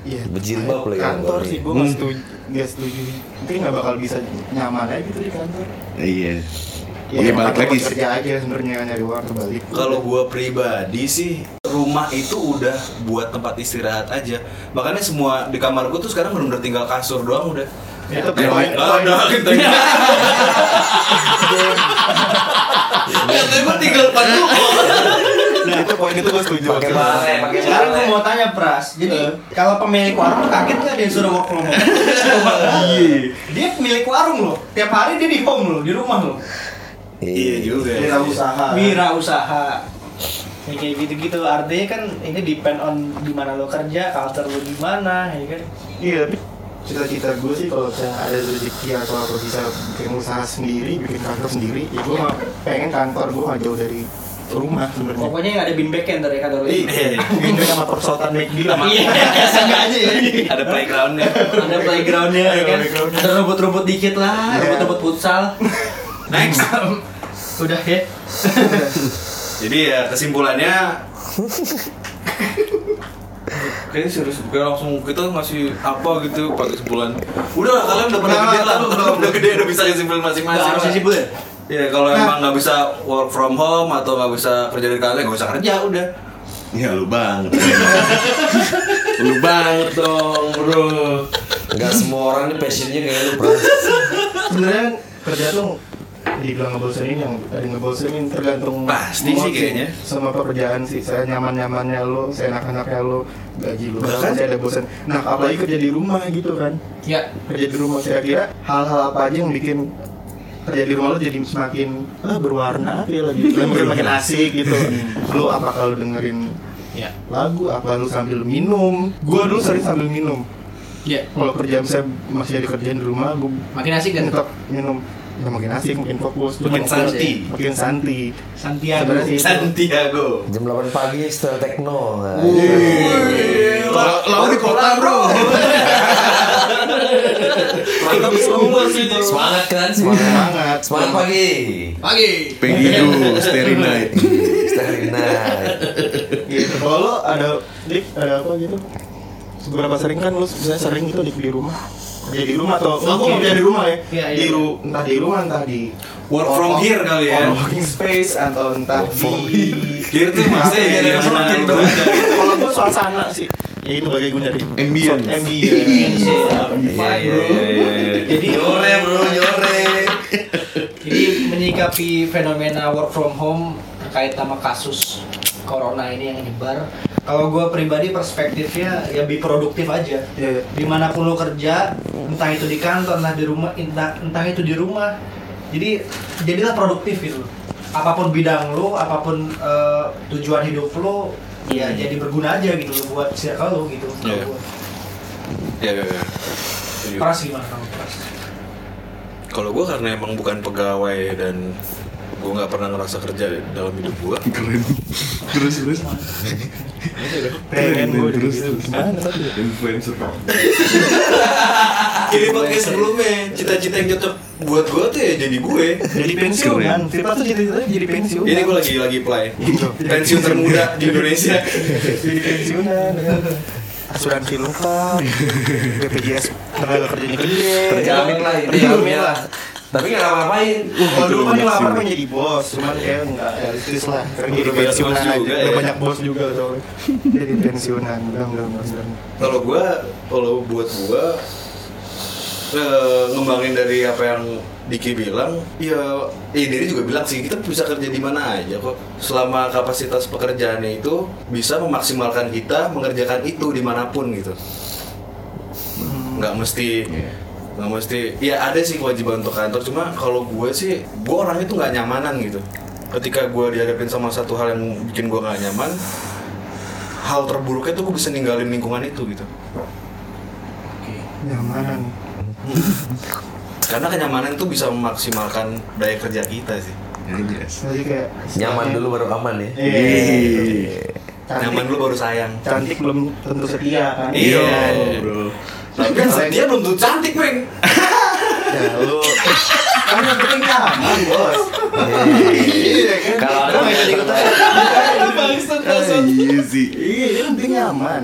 S1: Iya,
S2: Berjilbab lagi
S1: kantor
S2: kantornya.
S1: sih gue nggak setuju nggak setuju mungkin nggak bakal bisa nyaman aja gitu di kantor
S5: Iya. Iya balik
S1: kantor
S5: lagi
S1: buat
S5: sih.
S1: kerja aja sebenarnya nyari uang kebalik
S3: Kalau gua pribadi sih rumah itu udah buat tempat istirahat aja. Makanya semua di kamar gua tuh sekarang benar-benar tinggal kasur doang udah.
S1: itu
S5: Ya,
S1: poin
S3: Ah,
S1: poin
S3: udah kita. Yang tembak tinggal padu.
S1: nah itu poin itu gue setuju
S2: Pakai balai, pakai
S4: sekarang
S2: balai.
S4: gue mau Eh. tanya Pras jadi kalau pemilik warung tuh kaget nggak dia suruh work from home Iya. dia milik warung loh tiap hari dia di home loh di rumah loh
S1: Iya juga. Wira usaha.
S4: wira usaha Ah. Ya, kayak gitu-gitu artinya kan ini depend on di mana lo kerja culture lo gimana ya kan
S1: Iya, tapi cita-cita gue sih kalau misalnya ada rezeki atau aku bisa bikin usaha sendiri, bikin kantor sendiri, ya gue mah pengen kantor gue nggak jauh dari rumah sebenarnya.
S4: pokoknya yang ada bin back ntar ya kantor lo
S1: Iya, ini sama persotan McD sama
S4: iya sengaja ya
S3: Ada playgroundnya.
S4: ada playgroundnya ya kan
S1: Ada playgroundnya.
S4: ada rumput-rumput dikit lah
S1: Iya.
S4: rumput-rumput futsal next udah ya
S3: Jadi ya kesimpulannya Kayaknya serius, kayak langsung kita ngasih apa gitu pakai kesimpulan Udah lah, kalian udah pernah
S1: Nah,
S3: gede lah,
S1: tahu,
S3: kalau udah gede udah bisa kesimpulan masing-masing
S4: Nggak harus
S3: lah.
S4: disimpulin ya?
S3: Ya kalau emang nggak bisa work from home atau nggak bisa kerja dari kalian, nggak usah kerja udah
S2: Iya,
S5: Ya lu banget. lu banget dong, bro.
S2: Gak semua orang nih passionnya kayak lu bro
S1: sebenarnya kerja tuh dibilang ngebosenin yang ada ngebosenin tergantung
S3: Pasti sih
S1: mood
S3: kayaknya.
S1: sama pekerjaan sih saya nyaman nyamannya lo saya enak enaknya lo gaji lo
S3: Bahkan-
S1: saya ada bosan nah apalagi kerja di rumah gitu kan
S4: ya
S1: kerja di rumah saya kira hal-hal apa aja yang bikin kerja di rumah lo jadi semakin ah, berwarna apa ya lagi makin makin asik gitu lo apa kalau dengerin
S4: ya
S1: lagu apa lu sambil minum gua dulu sering sambil minum
S4: ya
S1: kalau kerjaan saya masih ada kerjaan di rumah gua
S4: makin asik
S3: Iya.
S4: kan
S1: tetap minum ya, makin asik makin fokus
S3: Makin
S1: fokus,
S3: santi.
S1: makin santi
S4: Santiago
S1: Sebenarnya sih-
S5: ya,
S3: Santiago
S2: Jam 8 pagi setel tekno
S5: Iya. Lalu di kota, bro.
S3: Mantap semua sih ini.
S2: Semangat kan? Semangat
S1: semangat
S2: Semangat pagi
S4: pagi
S5: Peggy Du, Starry Night.
S2: Starry night
S1: gitu kalau lo ada dik ada apa gitu seberapa sering kan lu misalnya sering gitu dik di rumah kerja di rumah atau aku nggak kerja di rumah ya
S4: Iya, iya.
S1: di ru- entah di rumah entah di
S3: Work from here kali ya.
S1: on working space atau entah di Gitu,
S3: Here tuh maksudnya ya, yang
S1: Maksudnya
S3: mana
S1: gitu.
S3: lu kerja.
S1: kalau gua suasana sih ya itu bagai gue nyari
S5: Ambience.
S1: ambience
S2: Iya iya
S4: jadi
S2: Nyore bro nyore
S4: Jadi menyikapi fenomena work from home terkait sama kasus corona ini yang nyebar. Kalau gue pribadi perspektifnya ya lebih produktif aja.
S1: Iya, iya.
S4: Dimanapun lo kerja, entah itu di kantor, entah di rumah, entah, entah itu di rumah. Jadi jadilah produktif gitu. loh. Apapun bidang lo, apapun eh, tujuan hidup lo, ya jadi berguna aja gitu lo buat circle lo gitu. Kalau
S3: Iya.
S4: gua.
S3: Ya, ya, ya.
S1: Iya.
S4: Pras gimana kamu Pras?
S3: Kalau gue karena emang bukan pegawai dan gue nggak pernah ngerasa kerja dalam hidup gue.
S5: Keren. Terus terus.
S1: pengen gue
S5: terus
S1: gitu
S5: terus. Influencer.
S3: Ini pakai sebelumnya cita-cita yang cocok buat gue tuh ya jadi gue.
S1: jadi pensiunan Firpa tuh cita-citanya jadi pensiunan
S3: Ini gue lagi lagi play pensiun termuda di Indonesia.
S1: jadi pensiunan ya. asuransi lengkap BPJS tenaga kerjanya gede
S2: Terjamin lah ini ya,
S1: terjamin lah
S2: Tapi gak ngapa-ngapain
S1: kalau dulu kan
S5: Itu
S1: ngelamar
S5: maksud.
S1: pengen jadi bos cuman kayak nggak realistis lah Kan jadi
S3: Udah banyak
S1: pensiunan
S3: bos
S1: aja
S3: juga
S1: udah
S3: ya.
S1: banyak bos juga soalnya iya. jadi pensiunan belum belum belum
S3: Kalau gue, kalau buat gue eh, ngembangin dari apa yang Diki bilang, ya eh, Diri juga bilang sih kita bisa kerja di mana aja kok. Selama kapasitas pekerjaannya itu bisa memaksimalkan kita mengerjakan itu dimanapun gitu. nggak mesti nggak mesti ya ada sih kewajiban untuk kantor cuma kalau gue sih gue orangnya tuh nggak nyamanan gitu ketika gue dihadapin sama satu hal yang bikin gue nggak nyaman hal terburuknya tuh gue bisa ninggalin lingkungan itu gitu
S1: nyamanan
S3: karena kenyamanan tuh bisa memaksimalkan daya kerja kita sih
S1: jadi kayak
S2: Nyaman dulu baru aman ya
S1: Iya.
S3: nyaman
S1: cantik
S3: dulu baru sayang
S1: cantik belum tentu setia kan
S3: Iya.
S5: bro.
S3: tapi kan dia belum tuh cantik peng
S1: Iya, ya lu kan yang penting nyaman bos kan?
S2: Iya. Kalau ada
S5: Iya sih.
S1: Iya, yang penting nyaman.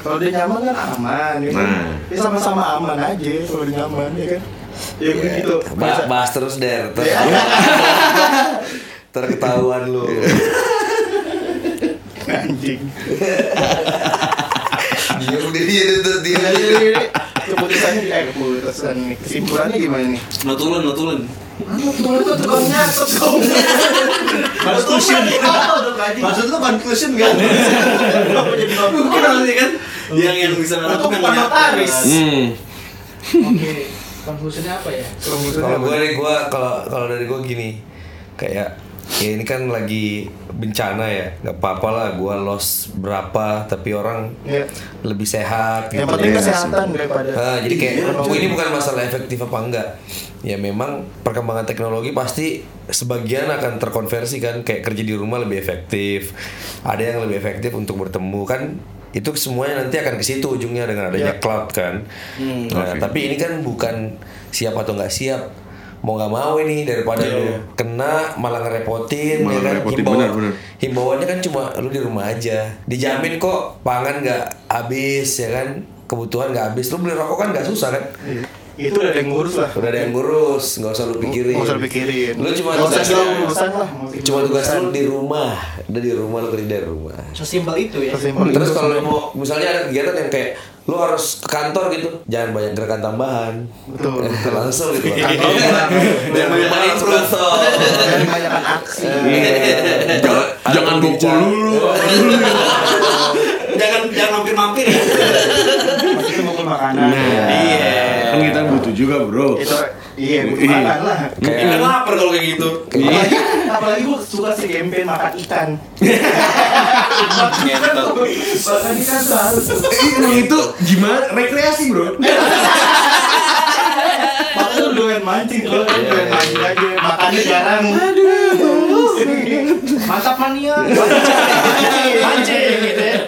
S1: Kalau dia nyaman kan aman, ya kan?
S5: Nah.
S1: Ya sama-sama aman aja kalau dia nyaman, ya kan? Ya begitu.
S2: Ba- bahas terus der ter terketahuan lu
S1: Anjing.
S2: dia udah dia dia dia
S1: Jadi keputusannya di eh, keputusan nih. Kesimpulannya gimana nih?
S3: nutulun nutulun
S1: Ah,
S4: Conclusion. Maksud lu conclusion gak?
S3: kan? bukan sih kan yang yang bisa ya.
S4: Untung
S3: nutulun
S4: bukan notaris.
S5: Hmm.
S4: Oke, konklusinya apa ya?
S1: Keputusannya apa?
S2: kalau gue nih gue kalau kalau dari gue gini kayak ya ini kan lagi bencana ya nggak apa-apa lah gue loss berapa tapi orang
S1: Iya.
S2: lebih sehat
S1: Yang
S2: gitu
S1: penting
S2: ya.
S1: kesehatan daripada
S2: Ah, jadi kayak
S1: Iya,
S2: oh, ini
S1: cuy.
S2: bukan masalah efektif apa enggak. Ya memang perkembangan teknologi pasti sebagian akan terkonversi kan kayak kerja di rumah lebih efektif. Ada yang lebih efektif untuk bertemu kan itu semuanya nanti akan ke situ ujungnya dengan adanya cloud kan.
S5: Oke.
S2: Nah, tapi ini kan bukan siap atau nggak siap. Mau nggak mau ini daripada lu kena malah ngerepotin
S5: Malah
S2: ya kan
S5: ngerepotin,
S2: Himbau-
S5: benar, benar.
S2: himbauannya kan cuma lu di rumah aja dijamin kok pangan nggak habis ya kan kebutuhan nggak habis lu beli rokok kan nggak susah kan
S1: itu udah ada yang ngurus lah.
S2: udah ada yang ngurus nggak usah lu
S1: Iya.
S2: pikirin
S1: Nggak usah dipikirin.
S2: lu cuma
S1: Nggak usah
S2: tugas
S1: segala urusan lah.
S2: cuma tugas lu di rumah udah di rumah lu kerja dari rumah
S4: Sesimpel itu ya.
S1: Sesimpel
S2: Iya, terus
S1: itu
S2: kalau lu
S1: sebenarnya.
S2: mau misalnya ada kegiatan yang kayak lu harus ke kantor gitu jangan banyak gerakan tambahan
S1: Betul, betul.
S2: langsung gitu
S3: Jangan
S2: jangan
S3: banyak
S2: main
S3: alat
S2: terus
S1: Jangan kebanyakan aksi.
S2: Jangan-
S5: Jangan
S2: Eh, ada Oh,
S5: bokul dulu.
S3: jangan jangan mampir-mampir ya.
S1: Masih itu mukul makanan.
S2: Nah.
S3: Iya.
S5: Kan kita butuh juga, Bro.
S1: Itu iya mukul
S5: Iya.
S1: makan lah.
S3: Kita lapar kalau kayak gitu.
S1: Apalagi, apalagi gue suka sih campaign makan ikan.
S3: Iya, Ngentot.
S1: Makan ikan selalu.
S5: Eh, Emang itu gimana? Rekreasi, Bro.
S1: Makan lu doyan mancing, lu
S2: Iya.
S1: doyan mancing aja. Makannya jarang.
S4: Mantap mania. Anjing gitu ya.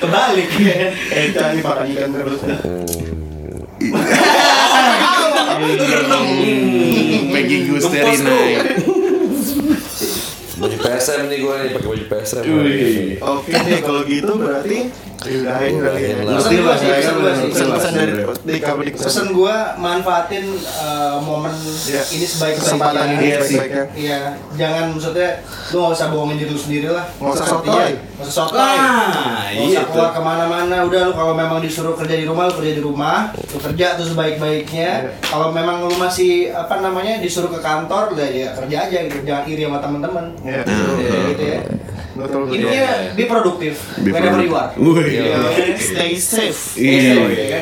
S1: Kebalik ya. Eh, cari makan ikan terus.
S5: Hmm, Peggy
S3: Gempos,
S5: Gusterina.
S3: bro.
S2: baju PSM nih gue nih pakai baju PSM
S5: Wih.
S1: Oke deh, kalau gitu berarti diudahin kali ya.
S2: Diudahin lah.
S1: Mesti lah, saya
S4: Pesan gua sih,
S1: pesan pesan dari di kabel
S4: Pesan gue manfaatin eh, momen
S1: Iya.
S4: ini sebaik-baiknya.
S1: kesempatan ini ya.
S5: Iya sih.
S1: sebaiknya.
S4: Iya, jangan maksudnya lu nggak usah bohongin diri lu sendiri lah.
S1: Nggak usah
S4: Sepertinya,
S1: sotoy. gitu.
S4: Nggak usah sotoy.
S3: Ah,
S4: Nggak
S3: iya
S4: usah
S3: tuh.
S4: keluar kemana-mana. Udah lu kalau memang disuruh kerja di rumah, lu kerja di rumah. Lu kerja tuh
S1: Iya.
S4: sebaik-baiknya. Kalau memang lu masih apa namanya disuruh ke kantor, udah ya kerja aja gitu. Jangan iri sama teman-teman.
S1: Iya.
S4: Iya, gitu ya.
S1: Betul betul.
S4: Intinya be produktif. Whenever you are.
S5: Iya. Wih.
S1: Iya. Stay safe.
S4: Ya kan?
S5: Iya.
S3: Iya.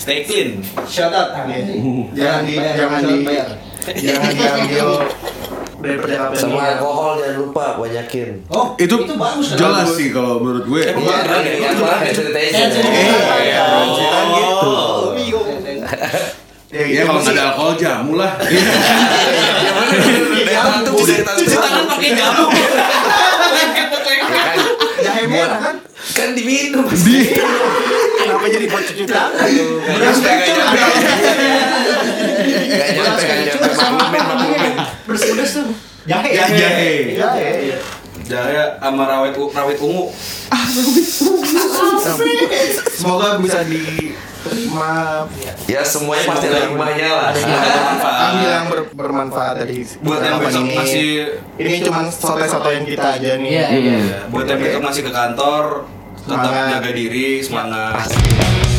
S3: Stay clean.
S4: Shout out.
S1: Jangan di
S4: Bayar,
S1: jangan
S4: shout
S1: di
S4: out, bayar.
S1: jangan diambil Ya, dari percakapan
S2: sama
S1: ini.
S2: alkohol jangan lupa banyakin
S4: Oh,
S5: Itu
S4: bagus kan?
S5: jelas sih kalau menurut gue.
S3: Eh,
S2: Iya, kan? Malah kayak ceritanya
S1: Iya,
S4: Iya,
S2: sih.
S1: cerita
S4: Oh,
S1: gitu.
S3: Iya,
S5: Ya kalau nggak ada alkohol jamu lah.
S2: Dari tantu, dari tantu.
S3: Tangan pakai jamu.
S2: Ya Iya, kan?
S1: Jahe merah kan?
S2: Kan diminum.
S1: Kenapa jadi buat cuci tangan?
S2: Beras kayak nyampe. Nggak nyampe, nggak nyampe. Maklumin, maklumin.
S4: Pedes-pedes tuh. Jahe. Iya,
S5: Jahe. Iya.
S1: Jahe.
S3: Jaya Iya. sama rawit u- rawit ungu.
S1: Semoga bisa di ma
S2: Ya semuanya pasti ada hikmahnya lah.
S1: ambil
S3: Manfaat.
S1: yang ber- bermanfaat dari
S3: Buat yang
S1: percakapan
S3: besok
S1: ini.
S3: masih
S1: ini cuma sotoy-sotoyin kita aja nih.
S4: Iya, iya.
S3: buat yang besok masih ke kantor tetap
S1: Semangat.
S3: jaga diri, semangat.